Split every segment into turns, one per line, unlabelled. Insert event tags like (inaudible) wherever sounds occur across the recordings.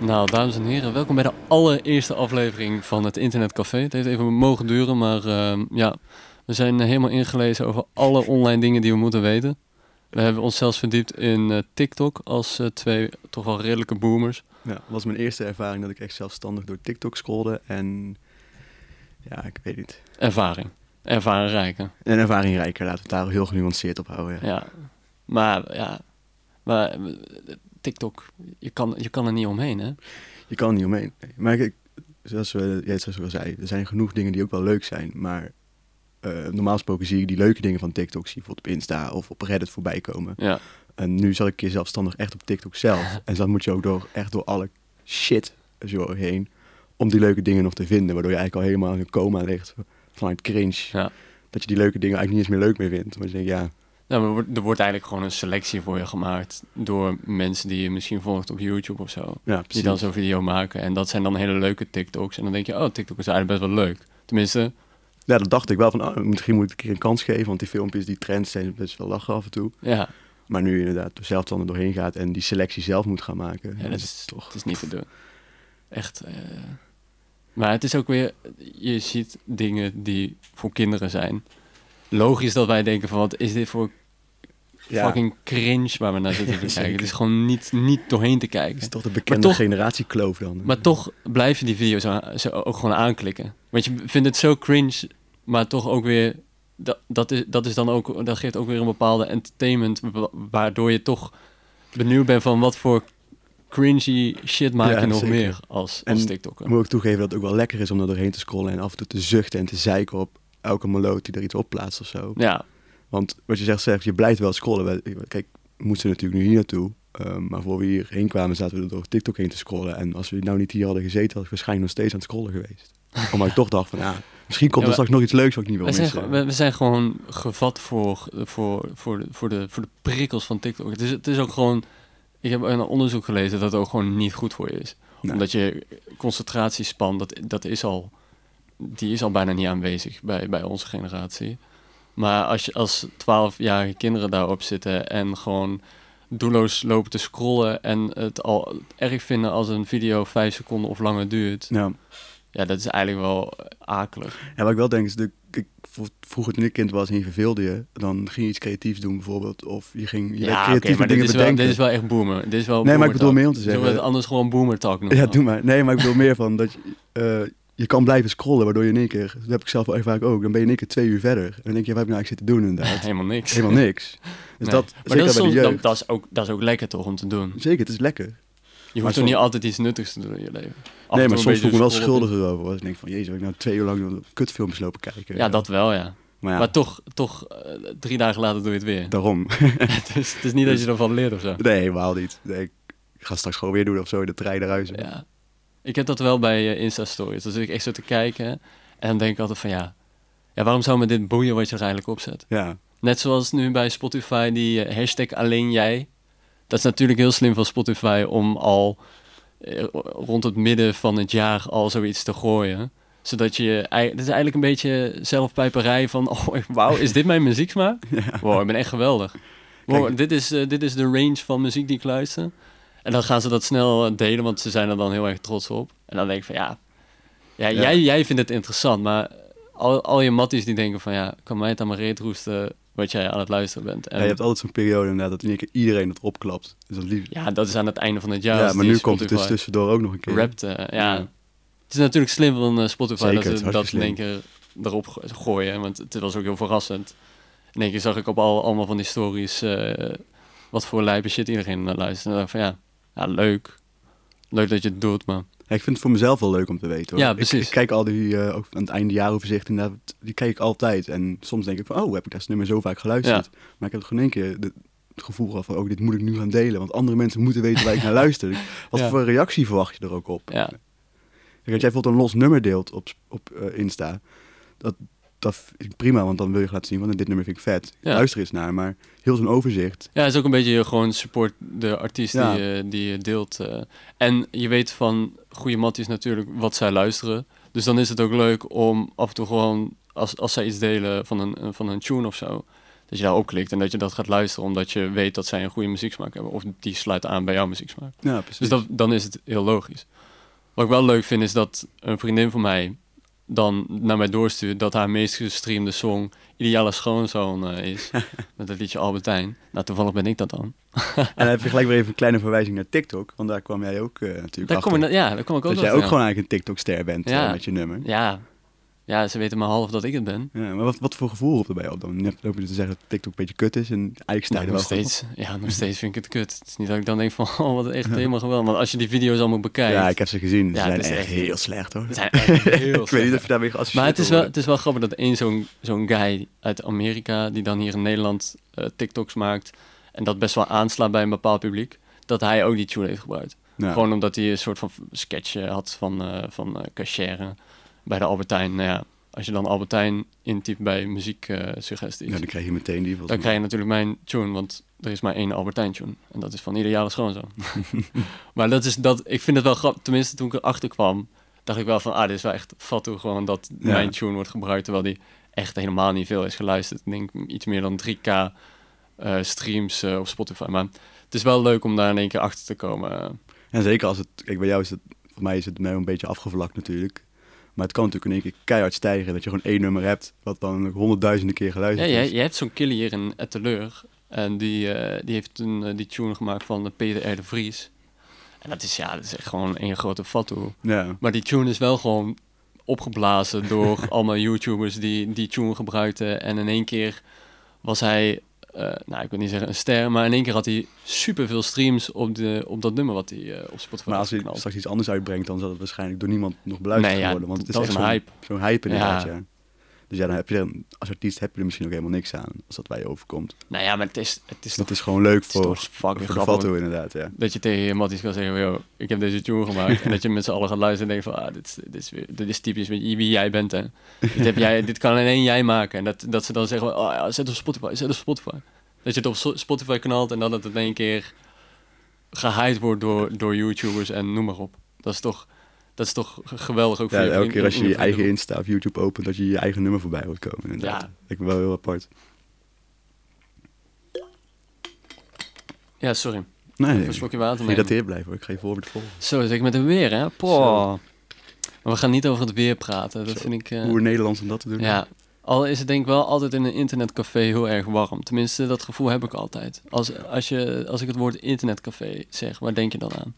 Nou, dames en heren, welkom bij de allereerste aflevering van het Internetcafé. Het heeft even mogen duren, maar ehm, ja, we zijn helemaal ingelezen over alle online dingen die we moeten weten. We hebben ons zelfs verdiept in eh, TikTok als eh, twee toch wel redelijke boomers.
Ja, was mijn eerste ervaring dat ik echt zelfstandig door TikTok scrolde en ja, ik weet niet.
Ervaring. Ervaren rijken.
Een ervaring rijker, laten we het daar heel genuanceerd op houden. Ja.
Ja. Maar ja, maar, eh, TikTok, je kan, je kan er niet omheen, hè?
Je kan er niet omheen. Nee. Maar kijk, zoals, we, ja, zoals ik al zei, er zijn genoeg dingen die ook wel leuk zijn, maar eh, normaal gesproken zie ik die leuke dingen van TikTok, zie je bijvoorbeeld op Insta of op Reddit voorbij komen.
Ja.
En nu zat ik een keer zelfstandig echt op TikTok
(laughs)
zelf. En dan moet je ook door, echt door alle shit zo heen om die leuke dingen nog te vinden, waardoor je eigenlijk al helemaal in een coma ligt vanuit cringe.
ja.
dat je die leuke dingen eigenlijk niet eens meer leuk meer vindt. Want je denkt, ja,
Nou, maar er wordt- er wordt eigenlijk gewoon een selectie voor je gemaakt door mensen die je misschien volgt op YouTube of zo.
ja
Die
precies.
dan zo'n video maken. En dat zijn dan hele leuke TikToks. En dan denk je, oh, TikTok is eigenlijk best wel leuk. Tenminste,
Ja, dat dacht ik wel van, ah, misschien moet ik een keer een kans geven. Want die filmpjes, die trends zijn best wel lachen af en toe.
ja,
Maar nu je inderdaad zelf dan er doorheen gaat en die selectie zelf moet gaan maken.
ja
dan
dat
het
is, toch. Het is niet te (laughs) doen. Echt. eh, Maar het is ook weer, je ziet dingen die voor kinderen zijn. Logisch dat wij denken van, wat is dit voor
ja,
fucking cringe waar we naar zitten (laughs) te kijken. Het
zeker.
is gewoon niet, niet doorheen te
het is
kijken.
toch de bekende
toch-
generatiekloof dan.
Maar toch blijf je die video's aan- zo ook gewoon aanklikken. Want je vindt het zo cringe, maar toch ook weer. Dat, dat, is, dat, is dan ook, dat geeft ook weer een bepaalde entertainment. wa- Waardoor je toch benieuwd bent van wat voor cringy shit maak
Ja,
je nog
zeker.
meer als, als
En
TikToker.
Moet ik toegeven dat het ook wel lekker is om er doorheen te scrollen en af en toe te zuchten en te zeiken op elke maloot die er iets op plaatst of zo.
Ja,
Want wat je zegt, zegt, je blijft wel scrollen. We- Kijk, we moeten natuurlijk nu hier naartoe. ehm, maar voor we hierheen kwamen, zaten we er door TikTok heen te scrollen. En als we nou niet hier hadden gezeten, had ik waarschijnlijk nog steeds aan het scrollen
(laughs)
geweest. Omdat ik toch dacht van, ja, misschien komt
Ja,
er
maar-
straks nog iets leuks wat ik niet wil
we zijn,
missen.
gewoon- we, we zijn gewoon gevat voor, voor, voor, de, voor, de, voor de prikkels van TikTok. Het is, het is ook gewoon. Ik heb een onderzoek gelezen dat het ook gewoon niet goed voor je is.
Nee.
Omdat je concentratiespan, dat, dat is al, die is al bijna niet aanwezig bij, bij onze generatie. Maar als je als 12-jarige kinderen daarop zitten en gewoon doelloos lopen te scrollen en het al erg vinden als een video vijf seconden of langer duurt,
Ja.
ja, dat is eigenlijk wel eh, akelig.
En wat ik wel denk is, de, ik, vro- vroeger toen ik kind was en je verveelde je, dan ging je iets creatiefs doen bijvoorbeeld. Of je ging je
Ja,
werd
oké,
creatieve
maar dit
dingen
is, wel,
bedenken.
dit is wel echt boomer. Dit is wel
Nee, maar
boomertalk.
ik bedoel meer om te
Zullen we
zeggen-
het anders gewoon boomer talk noemen?
Ja, doe maar. Nee, maar ik bedoel meer van dat je, eh, je kan blijven scrollen, waardoor je in één keer, dat heb ik zelf wel vaak ook, dan ben je in één keer twee uur verder. En dan denk je, wat heb ik nou eigenlijk zitten doen
(laughs)
inderdaad?
Helemaal niks.
helemaal niks. Dus
Nee.
dat,
maar
zeker
dat is,
bij
soms-
de jeugd.
dat, dat is ook, dat is ook lekker toch om te doen.
Zeker, het is lekker.
Je hoeft
Maar
toch
soms-
niet altijd iets nuttigs te doen in je leven. Af en toe
nee,
een
maar soms
beetje
voel ik me wel
scrollen.
schuldiger over. want Ik denk van, jezus, heb ik nou twee uur lang naar kutfilms lopen kijken.
Ja, dat wel, ja.
Maar ja,
Maar toch, toch eh, drie dagen later doe je het (laughs) weer.
daarom. (laughs)
het, is, het is niet dat
dus-
je ervan leert of zo.
nee, helemaal niet. Nee, ik ga straks gewoon weer doen of zo, de trein naar huis.
Ja. Ik heb dat wel bij eh, Insta-stories. Dan zit ik echt zo te kijken en dan denk ik altijd van ja, ja waarom zou me dit boeien wat je er eigenlijk opzet?
Ja.
Net zoals nu bij Spotify, die eh, hashtag alleen jij. Dat is natuurlijk heel slim van Spotify om al eh, rond het midden van het jaar al zoiets te gooien. Zodat je, ei- dat is eigenlijk een beetje zelfpijperij van, (laughs) oh wauw, is dit mijn muzieksmaak? Wow, ik ben echt geweldig. Wow,
Kijk-
dit, is, eh, dit is de range van muziek die ik luister. En dan gaan ze dat snel eh, delen, want ze zijn er dan heel erg trots op. En dan denk ik van, ja, ja,
Ja.
Jij, jij vindt het interessant, maar al, al je matties die denken van, ja, kan mij het aan mijn reet roesten wat jij aan het luisteren bent.
Ja,
En,
je hebt altijd zo'n periode inderdaad dat in één keer iedereen het opklapt. Dus dat lief.
ja, dat is aan het einde van het jaar.
Ja,
als
maar
die
nu komt het dus
Spotify
tussendoor ook nog een keer.
rapt, eh, ja.
Ja.
Het is natuurlijk slim van eh, Spotify
Zeker, het
dat
is
ze dat in één
hartstikke
keer erop go- gooien, want het was ook heel verrassend. In één keer zag ik op al, allemaal van die stories eh, wat voor lijpe shit iedereen naar luistert. En dan dacht ik van, ja, ja, leuk. Leuk dat je het doet, maar...
Ja, ik vind het voor mezelf wel leuk om te weten. Hoor.
Ja,
Ik- Ik,
precies.
kijk al die, eh, ook aan het einde jaaroverzicht inderdaad, die kijk ik altijd. En soms denk ik van, oh, heb ik dat nummer zo vaak geluisterd. Maar ik heb het gewoon in één keer de- het gevoel gehad van, oh, dit moet ik nu gaan delen. Want andere mensen moeten weten waar ik
(laughs)
naar luister. Dus Wat
Ja.
voor reactie verwacht je er ook op?
Ja,
Kijk, als jij bijvoorbeeld een los nummer deelt op, op eh, Insta, dat, dat is prima, want dan wil je laten zien, want dit nummer vind ik vet.
Ja.
Luister eens naar, maar heel zo'n overzicht.
ja het is ook een beetje gewoon support de artiest
Ja.
die, je, die je deelt. eh. En je weet van goede matties natuurlijk wat zij luisteren. Dus dan is het ook leuk om af en toe gewoon, als, als zij iets delen van een, van een tune of zo... Dat je daar op klikt en dat je dat gaat luisteren omdat je weet dat zij een goede muzieksmaak hebben. Of die sluit aan bij jouw muzieksmaak.
Ja, precies.
Dus dat, dan is het heel logisch. Wat ik wel leuk vind is dat een vriendin van mij dan naar mij doorstuurt dat haar meest gestreamde song Ideale Schoonzoon eh,
(laughs)
is. met het liedje Albertijn. Nou, toevallig ben ik dat dan.
En dan heb je gelijk weer even een kleine verwijzing naar TikTok, want daar kwam jij ook eh, natuurlijk
Daar
achter.
kom ik, na- ja, daar kom ik ook
dat
wel
jij ook
aan.
gewoon eigenlijk een TikTok-ster bent eh,
Ja.
met je nummer.
Ja. ja, ze weten maar half dat ik het ben.
Ja, maar wat, wat voor gevoel roept erbij op dan? Net loop je dus te zeggen dat TikTok een beetje kut is en eigenlijk sta
Nou,
je er wel
nog
goed op.
steeds, ja, nog steeds vind ik het kut. Het is niet dat ik dan denk van, (laughs) oh, wat
(laughs)
echt helemaal geweldig. Want als je die video's allemaal bekijkt,
Ja, ik heb ze gezien. Ze
Ja,
zijn
het is
echt
echt-
heel slecht hoor.
het
(laughs)
zijn echt heel
ik weet niet
slecht.
of je daarmee geassocieerd
Maar het is, wel,
wordt.
het is wel grappig dat één zo'n zo'n guy uit Amerika, die dan hier in Nederland eh, TikToks maakt, en dat best wel aanslaat bij een bepaald publiek, dat hij ook die tune heeft gebruikt.
Nou,
Gewoon omdat hij een soort van sketchje had van, eh van eh, cachère bij de Albertijn. Nou ja, als je dan Albertijn intypt bij muziek eh, suggesties.
ja, dan krijg je meteen die.
Dan
volgens mij.
krijg je natuurlijk mijn tune, want er is maar één Albertijn tune. En dat is van Ideale Schoonzoon. maar dat is dat, ik vind het wel grappig. Tenminste, toen ik erachter kwam, dacht ik wel van... Ah, dit is wel echt fat hoe gewoon dat
Ja.
mijn tune wordt gebruikt... terwijl die echt helemaal niet veel is geluisterd. Ik denk iets meer dan 3k eh, streams eh, op Spotify. Maar het is wel leuk om daar in één keer achter te komen. eh.
En zeker als het, kijk bij jou is het, voor mij is het nou een beetje afgevlakt natuurlijk. Maar het kan natuurlijk in één keer keihard stijgen dat je gewoon één nummer hebt wat dan honderdduizenden keer
Ja,
geluisterd
jij,
is.
jij hebt zo'n killer hier in Etteleur. En die, eh, die heeft een, eh, die tune gemaakt van eh, Peter R. de Vries. En dat is, ja, dat is echt gewoon één grote fatsoen.
Ja.
Maar die tune is wel gewoon opgeblazen
(laughs)
door allemaal YouTubers die die tune gebruikten. En in één keer was hij, eh, nou ik wil niet zeggen een ster, maar in één keer had hij superveel streams op, de, op dat nummer wat hij eh, op Spotify had
Maar als hij
geknald.
straks iets anders uitbrengt, dan zal het waarschijnlijk door niemand nog beluisterd
Nee, ja,
worden. Want het is
dat
echt
is
zo'n
een hype.
Zo'n hype inderdaad, ja.
Ja.
Dus ja, dan heb je er, als artiest heb je er misschien ook helemaal niks aan als dat bij je overkomt.
Nou ja, maar het is, het is
Dus
toch,
dat is gewoon leuk
het is
voor,
toch fucking
voor de
grappig.
foto inderdaad, ja.
Dat je tegen Matties kan zeggen, yo, ik heb deze tune
(laughs)
gemaakt. en dat je met z'n allen gaat luisteren en denkt van, ah, dit, is- dit, is, weer- dit is typisch wie wie jij bent, hè. Dit, heb jij, dit kan alleen jij maken. En dat, dat ze dan zeggen, oh ja, zet op Spotify, zet op Spotify. Dat je het op so- Spotify knalt en dan dat het in één keer gehyped wordt door, door YouTubers en noem maar op. Dat is toch, dat is toch geweldig ook voor
Ja,
je
elke
vriend-
keer als je je eigen
vriendengroep.
Insta of YouTube opent, dat je je eigen nummer voorbij hoort komen. Inderdaad.
Ja.
Ik ben wel heel apart.
Ja, sorry.
Nee,
Even een slokje water nemen.
dat blijven hoor. Ik ga je voorbeeld volgen.
Zo, zeker met het weer, hè.
Zo.
Poh. Maar we gaan niet over het weer praten. Dat
Zo.
vind ik... eh,
Hoe Nederlands om dat te doen.
Ja, al is het denk ik wel altijd in een internetcafé heel erg warm. Tenminste, dat gevoel heb ik altijd. Als, als, je, als ik het woord internetcafé zeg, waar denk je dan aan?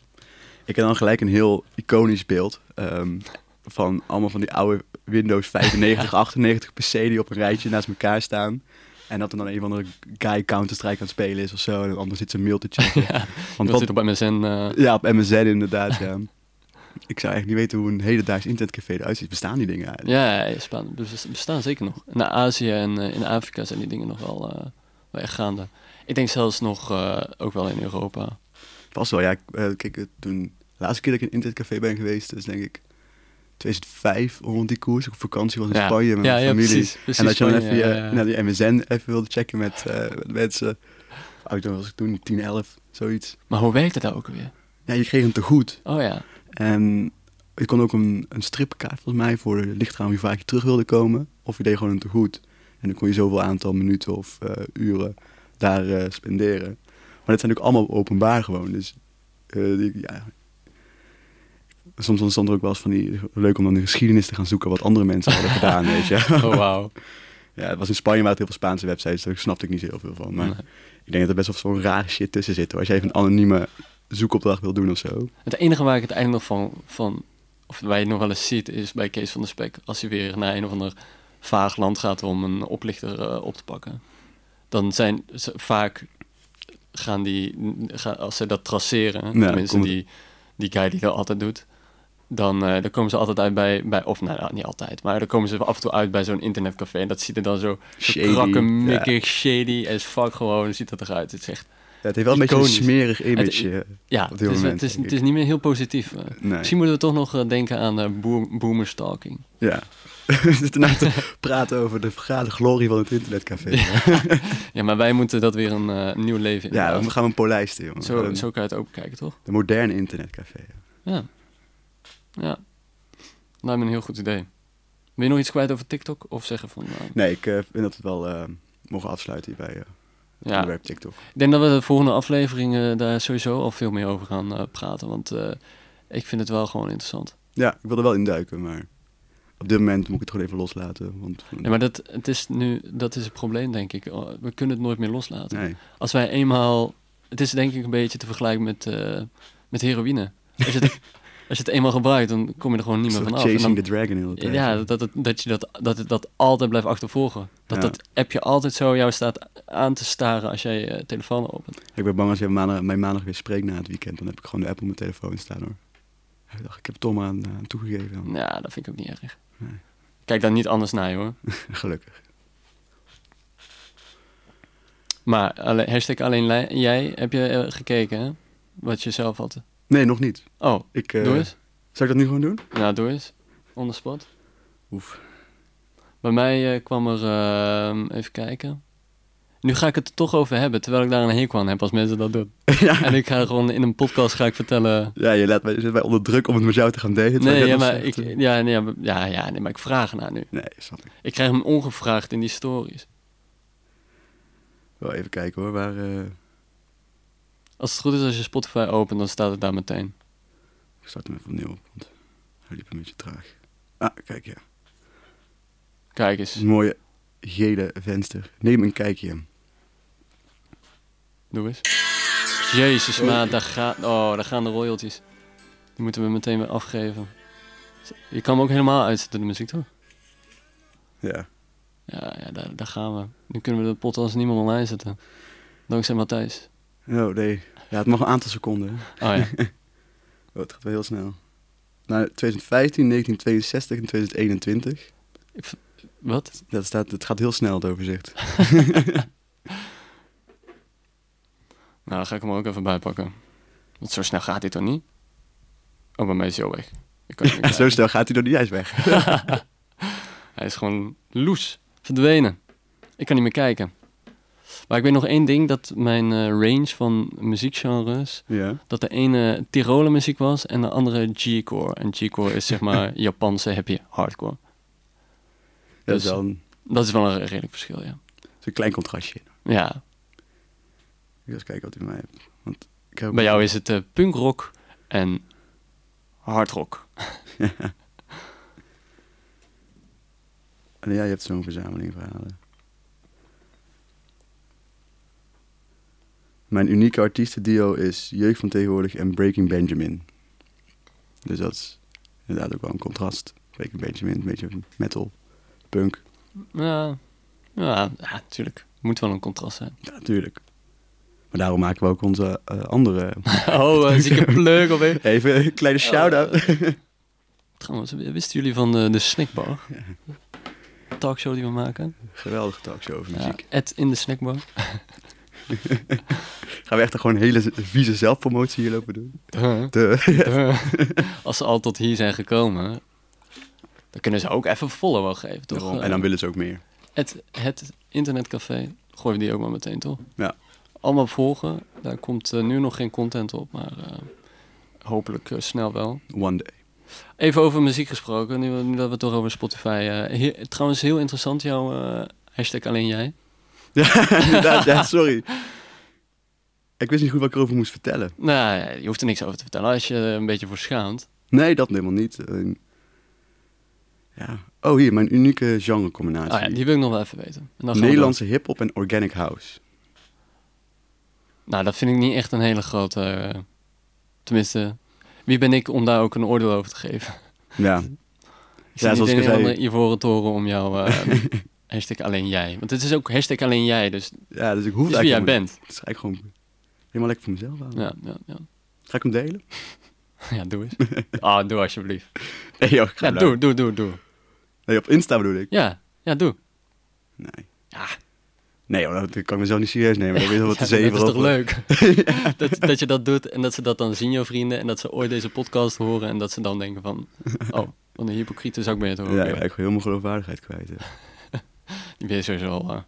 Ik heb dan gelijk een heel iconisch beeld ehm, van allemaal van die oude Windows
(laughs)
95, 98 PC die op een rijtje naast elkaar staan. En dat er dan een van de guy Counter-Strike aan het spelen is of zo. En anders zit ze een mail te
(laughs)
checken. Want
Want
wat,
zit op MSN. eh
ja, op MSN inderdaad, ja. Ik zou eigenlijk niet weten hoe een hedendaags internetcafé eruit ziet. Bestaan die dingen eigenlijk?
ja, ja, bestaan, bes- bestaan zeker nog. In Azië en eh, in Afrika zijn die dingen nog wel, eh, wel echt gaande. Ik denk zelfs nog eh, ook wel in Europa.
Pas wel, ja. Ik, eh, Kijk, eh, toen, de laatste keer dat ik in een internetcafé ben geweest, dat is denk ik 2005 rond die koers. Ik op vakantie was in
Ja.
Spanje met
Ja,
mijn
ja,
familie.
precies, precies,
en dat je dan even
Spanje,
je-
ja, ja.
naar die MSN even wilde checken met, eh, met mensen. Oh, toen was ik toen 10, 11, zoiets.
Maar hoe werkt het daar ook weer?
Ja, je kreeg hem te goed.
Oh
(laughs)
ja.
En je kon ook een, een stripkaart volgens mij voor de lichtraam hoe vaak je terug wilde komen. Of je deed gewoon een tegoed. En dan kon je zoveel aantal minuten of eh, uren daar eh, spenderen. Maar dat zijn ook allemaal openbaar gewoon. Dus eh, die- ja. Soms ontstond er ook wel eens van die... Leuk om dan de geschiedenis te gaan zoeken wat andere mensen hadden
(laughs)
gedaan, weet je.
Oh wauw.
Ja, het was in Spanje, maar het heel veel Spaanse websites. Daar snapte ik niet zo heel veel van. Maar
Nee.
ik denk dat er best wel zo'n rare shit tussen zit. hoor. Als je even een anonieme zoekopdracht wil doen of zo.
Het enige waar ik het eigenlijk nog van, van of waar je het nog wel eens ziet, is bij Kees van der Spek. Als hij weer naar een of ander vaag land gaat om een oplichter eh, op te pakken. Dan zijn ze vaak, gaan die, gaan, als ze dat traceren, tenminste
komt-
die, die guy die dat altijd doet. Dan, eh, dan komen ze altijd uit bij, bij of nou, nou, niet altijd, maar dan komen ze af en toe uit bij zo'n internetcafé. En dat ziet er dan zo
Shady,
krakkemikkig, shady as fuck gewoon, ziet dat eruit. Het is echt,
Ja, het heeft wel een beetje een
Iconisch.
smerig image. eh,
ja,
Op dit
het is,
moment,
het, is,
denk
het
ik.
is niet meer heel positief. eh.
Nee.
Misschien moeten we toch nog eh, denken aan eh boom, boomerstalking.
Ja. (laughs) We zitten
(laughs)
nou te praten over de vergade glorie van het internetcafé. Ja,
Ja, maar wij moeten dat weer een eh, nieuw leven in.
we gaan hem polijsten, jongen.
zo,
Een-
zo kan je het ook kijken, toch?
De moderne internetcafé.
Ja. Ja. Lijkt me een heel goed idee. Wil je nog iets kwijt over TikTok? Of zeggen van... eh,
Nee, ik eh, vind dat het wel eh, mogen afsluiten bij eh, het
Ja.
onderwerp TikTok.
Ik denk dat we de volgende aflevering eh, daar sowieso al veel meer over gaan eh, praten. Want eh, ik vind het wel gewoon interessant.
Ja, ik wil er wel in duiken, maar op dit moment moet ik het gewoon even loslaten. Want,
Ja, maar dat, het is nu, dat is het probleem, denk ik. Oh, We kunnen het nooit meer loslaten.
nee.
Als wij eenmaal... Het is denk ik een beetje te vergelijken met, eh, met heroïne. Als je,
(laughs)
het, als je het eenmaal gebruikt, dan kom je er gewoon niet meer
Soort
van af. En
Chasing
dan-
the Dragon heel de tijd.
Ja, dat, dat, dat je dat, dat, het dat altijd blijft achtervolgen. Dat
Ja.
dat appje altijd zo jou staat aan te staren als jij je telefoon opent.
Ik ben bang als je maandag, mijn maandag weer spreekt na het weekend, dan heb ik gewoon de app op mijn telefoon staan hoor. Ik dacht, ik heb Tom aan, eh, aan toegegeven. Dan.
Ja, dat vind ik ook niet erg.
Nee.
Kijk daar niet anders naar, hoor.
Gelukkig.
Maar alle- hashtag alleen lij- jij, heb je eh, gekeken, hè? Wat je zelf had.
Nee, nog niet.
Oh,
Ik, eh,
doe eens.
Zou ik dat nu gewoon doen?
Nou, doe eens. On the spot.
Oef.
Bij mij eh, kwam er... ehm, even kijken. Nu ga ik het er toch over hebben, terwijl ik daar een hekel aan heb als mensen dat doen.
(laughs) ja.
En ik ga gewoon in een podcast ga ik
(laughs)
vertellen...
ja, je laat mij, je zet mij onder druk om het met jou te gaan delen. terwijl
Nee,
je
ja,
dat
maar
zegt.
ik, ja, nee, ja, maar- ja, ja, nee, maar ik vraag ernaar nu.
Nee, snap ik.
Ik krijg hem ongevraagd in die stories.
Wel even kijken hoor, waar... eh,
Als het goed is als je Spotify opent, dan staat het daar meteen.
Ik start hem even opnieuw op, want hij liep een beetje traag. Ah, kijk ja.
Kijk
Het
eens,
is een mooie gele venster. Neem een kijkje.
doe eens. Jezus, maat, daar, gaat, oh, daar gaan de royalties. Die moeten we meteen weer afgeven. Je kan hem ook helemaal uitzetten, de muziek, toch?
Ja.
Ja, ja daar, daar gaan we. Nu kunnen we de podcast niet meer online zetten. Dankzij Matthijs.
Oh nee. Ja, het mag een aantal seconden. hè.
Oh (laughs) ja,
Oh, het gaat wel heel snel. Nou, 2015, 1962 en 2021.
wat?
Dat staat, het gaat heel snel, het overzicht.
Nou, dan ga ik hem er ook even bijpakken. Want zo snel gaat dit toch niet? Oh, bij mij is hij al weg. Ik kan het niet (laughs)
Ja, (laughs) zo
krijgen.
snel gaat hij door die ijs weg.
Hij is gewoon loes, verdwenen. Ik kan niet meer kijken. Maar ik weet nog één ding, dat mijn eh, range van muziekgenres...
Ja.
dat de ene Tiroler muziek was en de andere G-core. En G-core is zeg (laughs) maar Japanse happy hardcore.
Dat is
Dus-
wel een,
Dat is wel een redelijk verschil, ja.
is een klein contrastje. Ik
Ja,
ga eens kijken wat hij bij mij heeft. Want ik heb
bij jou is het eh, punkrock en hardrock.
En Ah, ja, je hebt zo'n verzameling verhalen. Mijn unieke artiestendio is Jeugd van Tegenwoordig en Breaking Benjamin. Dus dat is inderdaad ook wel een contrast. Breaking Benjamin, een beetje metal, punk.
Ja, ja, ja natuurlijk. Moet wel een contrast zijn.
(laughs) Ja, natuurlijk. Maar daarom maken we ook onze eh, andere...
Oh, eh, zieke pleuk op hè?
Even een kleine shout-out.
Oh, Trouwens, wisten jullie van de, de snackbar? Talkshow die we maken?
Geweldige talkshow over
Ja,
muziek.
at in de snackbar.
Gaan we echt gewoon hele z- vieze zelfpromotie hier lopen doen? De... (laughs)
Duh. Als ze al tot hier zijn gekomen, dan kunnen ze ook even follow geven, toch? Eh,
Daarom. En dan willen ze ook meer.
het, het internetcafé, gooien we die ook maar meteen, toch?
Ja.
Allemaal volgen. Daar komt eh, nu nog geen content op, maar eh, hopelijk eh, snel wel.
One day. (laughs)
Even over muziek gesproken, nu, nu dat we het toch over Spotify... eh, hier- trouwens, heel interessant jouw eh, hashtag alleen jij.
Ja, inderdaad. Ja, sorry. Ik wist niet goed wat ik erover moest vertellen.
Nou, ja, je hoeft er niks over te vertellen als je er een beetje voor schaamt.
Nee, dat helemaal niet. Ehm, ja. Oh, hier, mijn unieke genrecombinatie.
Ah, ja, die wil ik nog wel even weten. En dan gaan we
Nederlandse hip-hop en organic house.
door. Nou, dat vind ik niet echt een hele grote... eh, tenminste, wie ben ik om daar ook een oordeel over te geven?
Ja.
Ik ja,
Ja,
zoals
zoals
niet
ik
in
al
een
zei-
andere ivoren toren om jou... eh, (laughs) hashtag alleen jij. Want het is ook hashtag alleen jij, dus het
ja, dus ik hoef
is
het
wie jij
eigenlijk helemaal
bent.
niet. Het is eigenlijk gewoon helemaal lekker voor mezelf houden.
Ja, ja, (laughs) ja.
Ga ik hem delen?
ja, doe
(laughs)
eens. Ah, doe alsjeblieft.
Nee, joh, ik ga
Ja,
blauw.
doe, doe, doe, doe.
Nee, op Insta bedoel ik.
Ja, ja, doe.
Nee.
Ja.
Nee, joh, dat kan ik mezelf niet serieus nemen. Dat weet je wel wat
Ja,
te zeven
dat is toch
over.
leuk?
(laughs)
(laughs) dat, dat je dat doet en dat ze dat dan zien, jouw vrienden. En dat ze ooit deze podcast horen en dat ze dan denken
(laughs)
van... Oh, wat een hypocriete zak ben je toch ook
Ja, ik ben
weer.
eigenlijk helemaal geloofwaardigheid kwijt. hè.
Die ben je sowieso al... eh, nee,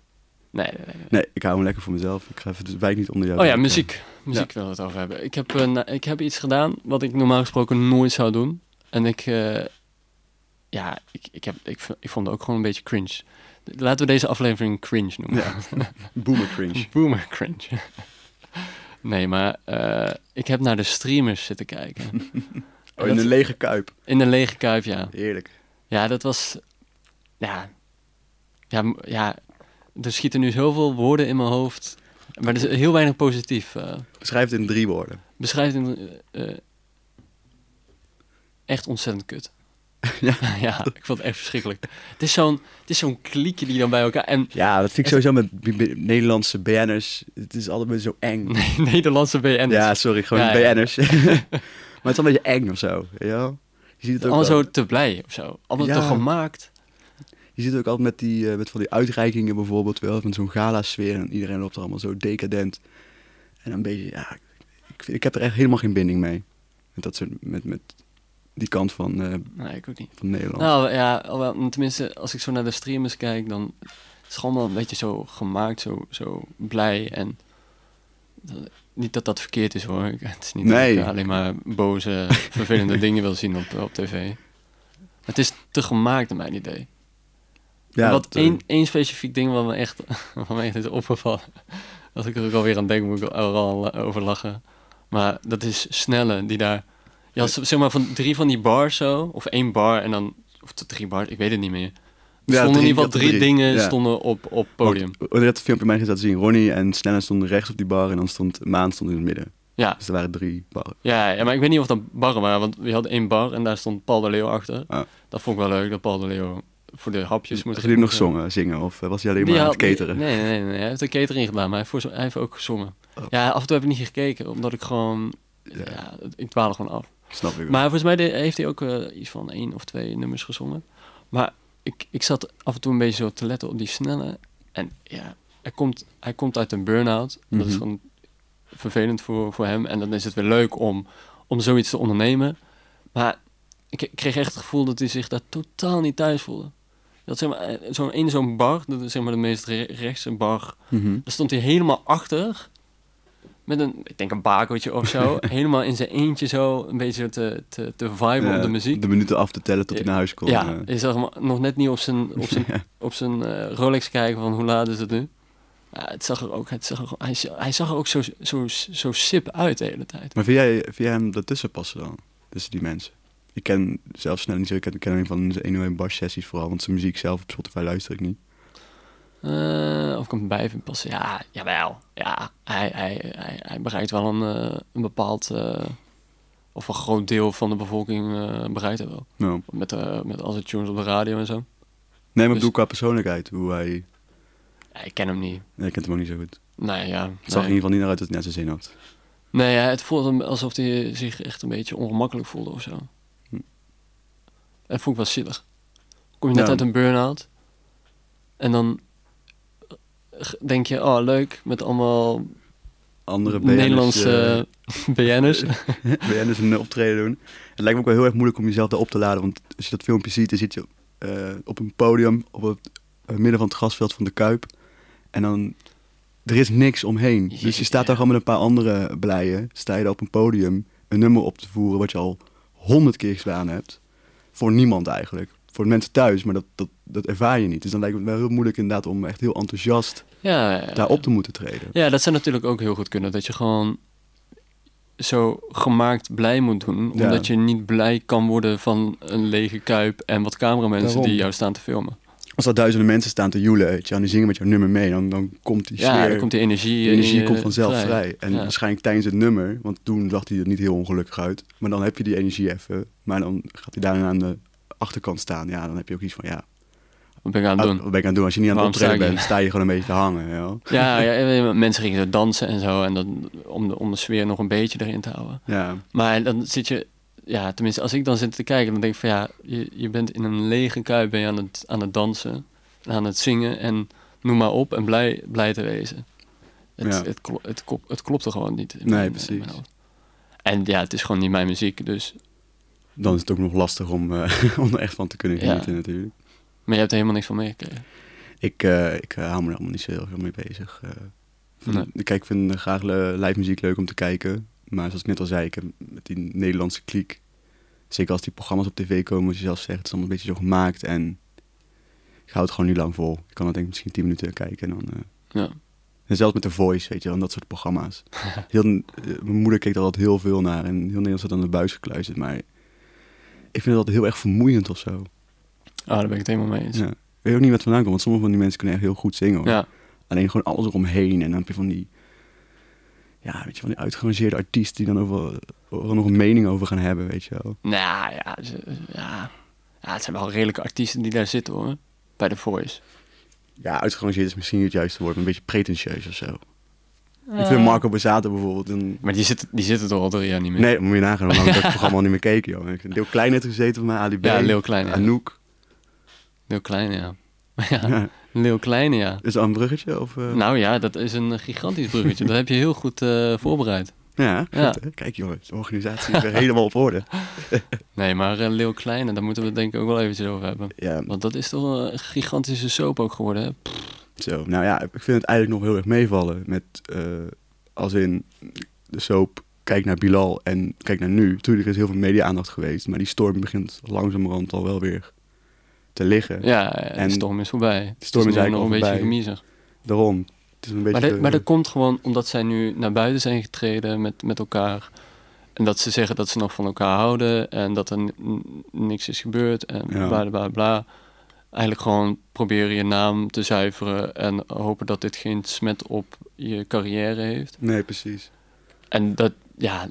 nee, nee, nee.
Nee, ik hou hem lekker voor mezelf. Ik ga even de wijk niet onder jou.
Oh ja,
werken.
muziek. Muziek willen we het over hebben. Ik heb, eh, na- ik heb iets gedaan wat ik normaal gesproken nooit zou doen. En ik... eh, ja, ik, ik, heb, ik, v- ik vond het ook gewoon een beetje cringe. Laten we deze aflevering cringe noemen.
Ja. Boomer (laughs) cringe.
(laughs) Boomer cringe. Nee, maar eh, ik heb naar de streamers zitten kijken.
Oh, in een lege kuip.
In een lege kuip, ja.
Heerlijk.
Ja, dat was... Ja. Ja, m- ja. Er schieten nu zoveel woorden in mijn hoofd. Maar er is heel weinig positief. eh.
Beschrijf het in drie woorden.
beschrijft in... eh, eh, echt ontzettend kut.
(laughs) Ja.
(laughs) ja, ik vond het echt verschrikkelijk. Het is zo'n het is zo'n kliekje die dan bij elkaar... En (laughs)
Ja, dat vind ik sowieso met b- b- Nederlandse BN'ers. Het is altijd weer zo eng.
Nederlandse BN'ers.
Ja, sorry, gewoon
Ja, ja.
BN'ers. (laughs) maar het is een beetje eng of zo. weet Je, wel? je ziet het ook
allemaal
wel.
zo te blij of zo. Allemaal
Ja.
te gemaakt.
Je ziet het ook altijd met, die, eh, met van die uitreikingen bijvoorbeeld wel, van zo'n gala-sfeer. En iedereen loopt er allemaal zo decadent. En een beetje, ja, ik, vind- ik heb er echt helemaal geen binding mee. Met, dat soort, met, met die kant van, eh,
Nee, ik ook niet.
van Nederland.
Nou ja, alhoewel, tenminste, als ik zo naar de streamers kijk, dan is het allemaal een beetje zo gemaakt, zo, zo blij. En dat- niet dat dat verkeerd is hoor. Ik- Het is niet
Nee.
dat ik alleen maar boze,
(laughs)
vervelende dingen wil zien op, op tv. Maar Het is te gemaakt naar mijn idee.
ja,
Wat
dat, eh,
één, één specifiek ding wat me echt, (laughs) wat me echt is opgevallen. (laughs) Als ik er ook alweer aan denk, moet ik er al eh, over lachen. Maar dat is Snelle, die daar... Je had zeg maar van drie van die bars zo, of één bar en dan... Of t- drie bars, ik weet het niet meer. Er
Ja,
stonden
drie-
in ieder geval
ja,
drie,
drie.
dingen
Ja.
stonden op, op podium.
Want, oh, dat filmpje mij gezet zien. Ronnie en Snelle stonden rechts op die bar en dan stond Maan stond in het midden.
Ja.
Dus er waren drie barren.
Ja, ja, maar ik weet niet of dat barren waren, want we hadden één bar en daar stond Paul de Leeuw achter.
Ah.
Dat vond ik wel leuk, dat Paul de Leeuw voor de hapjes moest...
Moesten Dus jullie nog zongen, zingen of eh, was hij alleen maar
Die
aan het
had- die-
cateren?
nee, nee, nee, hij heeft de catering gedaan, maar hij heeft, voor, hij heeft ook gezongen.
Oh.
Ja, af en toe heb ik niet gekeken, omdat ik gewoon... Ja,
Ja.
ik dwaal er gewoon af.
Snap ik wel.
Maar volgens mij de- heeft hij ook eh, iets van één of twee nummers gezongen. Maar ik, ik zat af en toe een beetje zo te letten op die snelle. En ja, hij komt, hij komt uit een burn-out. En Dat is
Mhm.
gewoon vervelend voor, voor hem. En dan is het weer leuk om, om zoiets te ondernemen. Maar ik ik kreeg echt het gevoel dat hij zich daar totaal niet thuis voelde. Dat zeg maar, eh, zo'n in zo'n bar, dat is zeg maar de meest re- rechtse bar
Mhm.
daar stond hij helemaal achter. Met een, ik denk een bakeltje of
(laughs)
zo. helemaal in zijn eentje zo. Een beetje te, te, te viben
Ja,
op de muziek.
De minuten af te tellen tot hij
Ja.
naar huis kon. eh.
ja, je zag hem nog net niet op zijn, op zijn,
(laughs) Ja.
op zijn eh, Rolex kijken van hoe laat is het nu. Ja, het zag er ook, het zag er, gewoon- hij, z- hij zag er ook zo, zo, zo sip uit de hele tijd.
Maar vind jij, vind jij hem daartussen passen dan? Tussen die mensen? Ik ken zelf snel niet zo. Ik ken, ik ken hem van zijn 101 bar sessies vooral. Want zijn muziek zelf op Spotify luister ik niet.
Eh, of ik hem bij vind passen. Ja, jawel. Ja, hij, hij, hij, hij bereikt wel een, eh, een bepaald... eh, of een groot deel van de bevolking eh, bereikt hij wel.
Nou.
Met, eh met al zijn tunes op de radio en zo.
Nee, maar ik
Dus-
bedoel qua persoonlijkheid. Hoe hij...
Ja, ik ken hem niet.
Nee, ik ken hem ook niet zo goed.
Nee, ja.
Het zag er in ieder
nee.
geval niet naar uit dat hij net zijn zin had.
nee ja, het voelde hem alsof hij zich echt een beetje ongemakkelijk voelde of zo.
Hm.
Dat vond ik wel zielig. Kom je net
Ja.
uit een burn-out en dan g- denk je, oh leuk, met allemaal
Andere eh, BN'ers,
Nederlandse
(laughs)
BN'ers.
eh, BN'ers een optreden doen. Het lijkt me ook wel heel erg moeilijk om jezelf daar op te laden. Want als je dat filmpje ziet, dan zit je eh, op een podium. Op het eh, midden van het grasveld van de Kuip. En dan... Er is niks omheen. Dus je
Jeetje,
staat daar
ja.
gewoon met een paar andere blijen. Sta je daar op een podium een nummer op te voeren wat je al honderd keer gedaan hebt. Voor niemand eigenlijk. Voor de mensen thuis, maar dat, dat, dat ervaar je niet. Dus dan lijkt het me wel heel moeilijk inderdaad om echt heel enthousiast
Ja, ja, ja.
daar op te moeten treden.
ja, dat zou natuurlijk ook heel goed kunnen. Dat je gewoon zo gemaakt blij moet doen.
Ja.
Omdat je niet blij kan worden van een lege kuip en wat cameramensen
Daarom.
die jou staan te filmen.
Als er duizenden mensen staan te joelen weet je, en die zingen met jouw nummer mee, dan, dan komt die
Ja,
sfeer,
dan komt die energie.
die
in
energie
je
komt vanzelf vrij. En
Ja.
waarschijnlijk tijdens het nummer, want toen zag hij er niet heel ongelukkig uit, maar dan heb je die energie even. Maar dan gaat hij daarna aan de achterkant staan. Ja, dan heb je ook iets van, ja,
Wat ben ik aan het
ah,
doen?
wat ben ik aan het doen? Als je niet aan het
Waarom sta
optreden
ik
bent, sta je gewoon een beetje te hangen. weet je wel.
Ja, ja, ja, mensen gingen zo dansen en zo. En dan, om, de, om de sfeer nog een beetje erin te houden.
Ja.
Maar dan zit je... Ja, tenminste, als ik dan zit te kijken, dan denk ik van ja... Je, je bent in een lege kuip, ben je aan het, aan het dansen. En aan het zingen en noem maar op. En blij, blij te wezen. Het,
Ja.
het, klo- het, kop- het klopte gewoon niet. in
Nee,
mijn- in
precies.
mijn hoofd. en ja, het is gewoon niet mijn muziek, dus...
dan is het ook nog lastig om, eh, (laughs) om er echt van te kunnen
Ja.
genieten natuurlijk.
Maar je hebt er helemaal niks van meegekregen.
Ik, eh, ik eh, hou me er allemaal niet zo heel veel mee bezig. eh. Van-
Nee.
Kijk, ik vind eh, graag le- live muziek leuk om te kijken. Maar zoals ik net al zei, ik heb met die Nederlandse kliek... Zeker als die programma's op tv komen, wat je zelf zegt, het is allemaal een beetje zo gemaakt. En ik ik hou het gewoon niet lang vol. Ik kan dan denk ik misschien 10 minuten kijken en dan... eh,
Ja. Oh,
en zelfs met de Voice, weet je wel, en dat soort
(laughs)
programma's. Heel, eh, mijn moeder keek daar altijd heel veel naar en heel Nederland zat aan de buis gekluisterd. Maar ik vind dat altijd heel erg vermoeiend of zo.
Ah, daar ben ik het helemaal mee eens.
Ja. Ik weet ook niet wat het vandaan komt, want sommige van die mensen kunnen echt heel goed zingen. Hoor.
Ja,
Alleen gewoon alles eromheen. En dan heb je van die, ja, weet je, van die uitgerangeerde artiesten die dan over, overal nog een mening over gaan hebben, weet je wel.
Nou ja, ze- ja. ja, het zijn wel redelijke artiesten die daar zitten hoor. Bij The Voice.
Ja, uitgerangeerd is misschien niet het juiste woord, maar een beetje pretentieus of zo. Ik vind Marco Bazzato bijvoorbeeld een...
Maar die zitten, die zitten toch al drie jaar niet meer?
Nee, moet je nagaan, want ik dat programma al niet meer keken, joh. Ik heb heel klein net gezeten met mijn Ali B.
Ja, Lil Kleine. Ja.
Anouk.
Lil Kleine, ja. (laughs) ja.
Ja.
Lil Kleine, ja.
Is dat een bruggetje? Of, eh?
Nou ja, dat is een gigantisch bruggetje. dat heb je heel goed eh, voorbereid.
ja, goed,
ja.
hè? Kijk joh, de organisatie is weer helemaal op orde.
Nee, maar eh, Lil Kleine, daar moeten we het denk ik ook wel eventjes over hebben.
Ja,
Want dat is toch eh, een gigantische soap ook geworden, hè?
Zo, nou ja, ik vind het eigenlijk nog heel erg meevallen met, eh, als in de soap, kijk naar Bilal en kijk naar nu. Tuurlijk is heel veel media-aandacht geweest, maar die storm begint langzamerhand al wel weer te liggen.
Ja, en
En-
de storm is voorbij. Het
storm is
nu
eigenlijk
nog een
al
beetje
voorbij.
gemiezer.
Daarom, het is een beetje...
Maar, dat-
te-
maar dat komt gewoon omdat zij nu naar buiten zijn getreden met, met elkaar. En dat ze zeggen dat ze nog van elkaar houden en dat er n- n- niks is gebeurd en
Ja.
bla bla bla. Eigenlijk gewoon proberen je naam te zuiveren en hopen dat dit geen smet op je carrière heeft.
Nee, precies.
En dat, ja,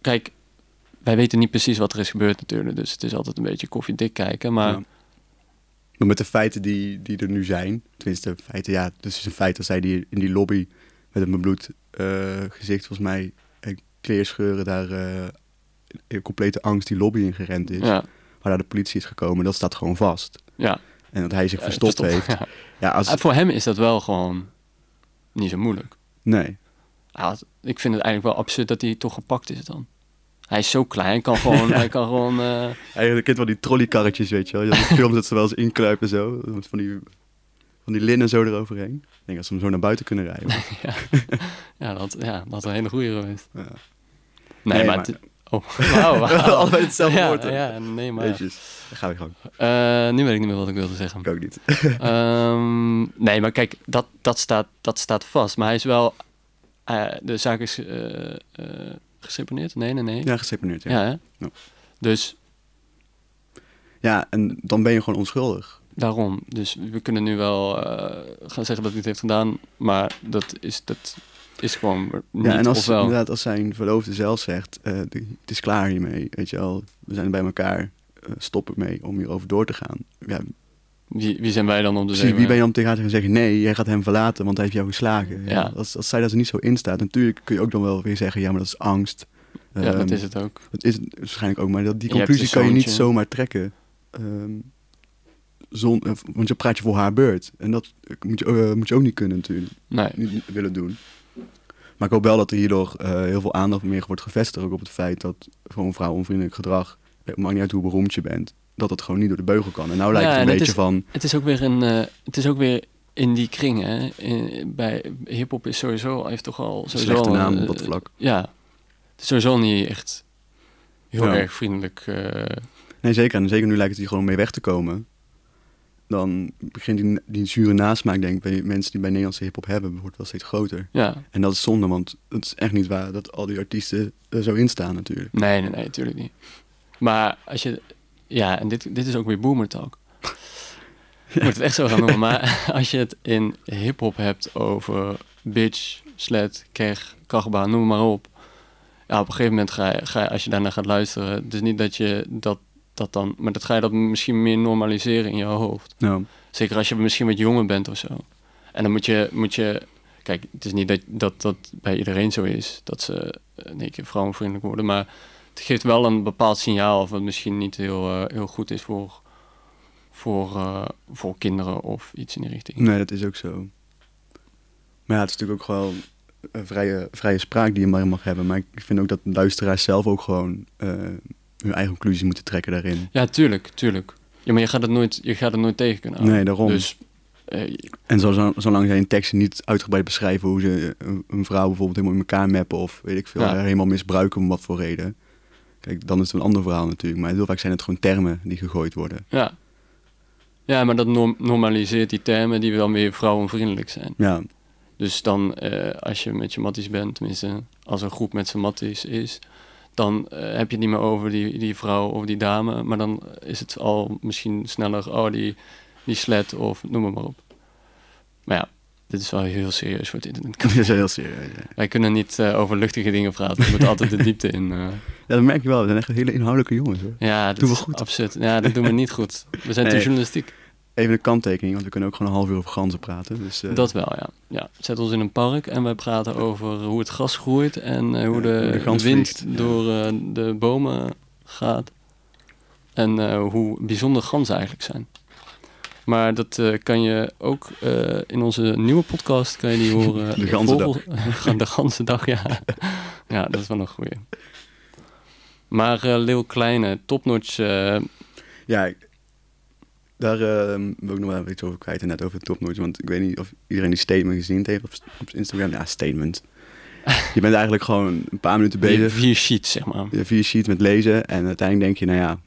kijk, wij weten niet precies wat er is gebeurd natuurlijk. Dus het is altijd een beetje koffiedik kijken. Maar
Ja. Maar met de feiten die, die er nu zijn, tenminste feiten, ja, dus het is een feit dat zij die, in die lobby met een bebloed eh, gezicht, volgens mij, en kleerscheuren daar eh, in complete angst die lobby in gerend is.
ja,
waar daar de politie is gekomen, dat staat gewoon vast.
ja,
En dat hij zich
ja,
verstopt
verstopt,
heeft.
ja.
Ja,
(laughs)
als...
Ah, Voor hem is dat wel gewoon niet zo moeilijk.
Nee.
Hij had- ik vind het eigenlijk wel absurd dat hij toch gepakt is dan. Hij is zo klein, hij kan
(laughs)
gewoon... hij kan gewoon eh,
Eigenlijk kent wel die trolleykarretjes, weet je wel. Je had die films dat ze wel eens inkruipen zo. met Van die, van die linnen zo eroverheen. Ik denk dat ze hem zo naar buiten kunnen rijden.
ja, dat, ja, dat is een hele goede geweest.
Ja.
Nee,
Nee,
maar...
maar-
het- oh, (laughs) wauw.
(laughs)
wauw.
Allebei hetzelfde
ja,
woord, hè?
Ja, nee, (laughs) maar...
Jeetjes. Daar gaan we gewoon.
Eh, nu weet ik niet meer wat ik wilde zeggen.
Ik ook niet.
Ehm, nee, maar kijk, dat, dat, staat, dat staat vast. Maar hij is wel... eh, de zaak is eh, eh, geseponeerd? Nee, nee, nee.
Ja, geseponeerd, ja.
Ja,
ja.
hè?
Ja.
Dus
en dan ben je gewoon onschuldig.
Daarom. Dus we kunnen nu wel eh, gaan zeggen dat hij het heeft gedaan, maar dat is, dat is gewoon niet
ja, en als,
of wel.
inderdaad, als zijn verloofde zelf zegt, eh, de- het is klaar hiermee, weet je wel. We zijn bij elkaar, eh, stop ermee om hierover door te gaan. Ja,
Wie, wie zijn wij dan om te
Precies,
zeggen?
wie ben je om tegen haar te gaan zeggen... nee, jij gaat hem verlaten, want hij heeft jou geslagen. Ja.
Ja.
Als, als zij daar niet zo in staat... natuurlijk kun je ook dan wel weer zeggen... ja, maar dat is angst.
eh, Ja,
Ehm,
dat is het ook.
dat is het waarschijnlijk ook, maar dat, die
Je hebt een
conclusie kan je niet
zoontje.
zomaar trekken. Ehm, zon, eh, want je praat je voor haar beurt. En dat moet je, eh, moet je ook niet kunnen natuurlijk,
Nee.
niet willen doen. Maar ik hoop wel dat er hierdoor eh, heel veel aandacht meer wordt gevestigd... ook op het feit dat voor een vrouw onvriendelijk gedrag... het maakt niet uit hoe beroemd je bent... dat het gewoon niet door de beugel kan. En nou lijkt
Ja,
het
en
een
dat
beetje
is-
van...
Het is ook weer een, eh, het is ook weer in die kring, hè. In, bij hip-hop is sowieso, heeft toch al sowieso
slechte
al,
naam
eh,
op dat vlak.
Ja. Het is sowieso niet echt heel
Ja.
erg vriendelijk. eh,
Nee, zeker. En zeker nu lijkt het hier gewoon om mee weg te komen. Dan begint die, die zure nasmaak, denk ik, bij die mensen die bij Nederlandse hip-hop hebben, wordt wel steeds groter.
ja.
En dat is zonde, want het is echt niet waar dat al die artiesten er zo in staan, natuurlijk.
Nee, nee, nee, natuurlijk niet. Maar als je... Ja, en dit, dit is ook weer boomer talk. Ik moet het echt zo gaan noemen. Maar als je het in hiphop hebt over bitch, slet, keg, kachba, noem maar op. Ja, op een gegeven moment ga je, ga je als je daarna gaat luisteren. Het is niet dat je dat, dat dan... Maar dat ga je dat misschien meer normaliseren in je hoofd.
Nou,
Zeker als je misschien wat jonger bent of zo. En dan moet je, moet je kijk, het is niet dat, dat dat bij iedereen zo is, dat ze eh, in één keer vrouwenvriendelijk worden, maar het geeft wel een bepaald signaal of wat misschien niet heel, eh, heel goed is voor, voor, eh, voor kinderen of iets in die richting.
nee, dat is ook zo. Maar ja, het is natuurlijk ook wel een vrije, vrije spraak die je maar mag hebben. Maar ik vind ook dat luisteraars zelf ook gewoon eh, hun eigen conclusies moeten trekken daarin.
Ja, tuurlijk, tuurlijk. Ja, maar je gaat het nooit, je gaat het nooit tegen kunnen houden.
Nee, daarom.
Dus eh,
En zo, zolang zij in teksten niet uitgebreid beschrijven hoe ze een, een vrouw bijvoorbeeld helemaal in elkaar mappen of weet ik veel,
Ja.
haar helemaal misbruiken om wat voor reden. Kijk, dan is het een ander verhaal natuurlijk. Maar heel vaak zijn het gewoon termen die gegooid worden.
ja. Ja, maar dat norm- normaliseert die termen die dan weer vrouwenvriendelijk zijn.
Ja,
Dus dan, eh, als je met je matties bent, tenminste, als een groep met z'n matties is, dan eh, heb je het niet meer over die, die vrouw of die dame, maar dan is het al misschien sneller, oh, die, die slet of noem het maar op. Maar ja, dit is wel heel serieus voor het
(laughs) (laughs) dat
internet.
is heel serieus. Ja.
Wij kunnen niet eh, over luchtige dingen praten, we moeten altijd de diepte in. eh.
Ja, dat merk je wel. We zijn echt hele inhoudelijke jongens. Hoor.
Ja, dat
Doen we
is
goed.
absurd. Ja, dat doen we niet goed. We zijn te
Nee.
journalistiek.
Even een kanttekening, want we kunnen ook gewoon een half uur over ganzen praten. Dus, eh,
Dat wel, ja. ja. Zet ons in een park en wij praten over hoe het gras groeit en eh, hoe
Ja,
de,
hoe de gans
wind
vliegt, ja.
door eh, de bomen gaat. En eh, hoe bijzonder ganzen eigenlijk zijn. Maar dat eh, kan je ook eh, in onze nieuwe podcast kan je die horen.
(laughs) De ganzendag.
(laughs) Vogel- de ganzendag, ja. (laughs) ja, dat is wel een goeie. Maar eh Leeuw Kleine, topnotch. eh,
Ja, ik- daar ehm wil ik nog wel even iets over kwijt. en Net over de topnootje. Want ik weet niet of iedereen die statement gezien heeft op, op Instagram. Ja, (laughs) statement. Je bent eigenlijk gewoon een paar minuten
die
bezig.
vier sheets, zeg maar.
Je vier sheets met lezen. En uiteindelijk denk je, nou ja,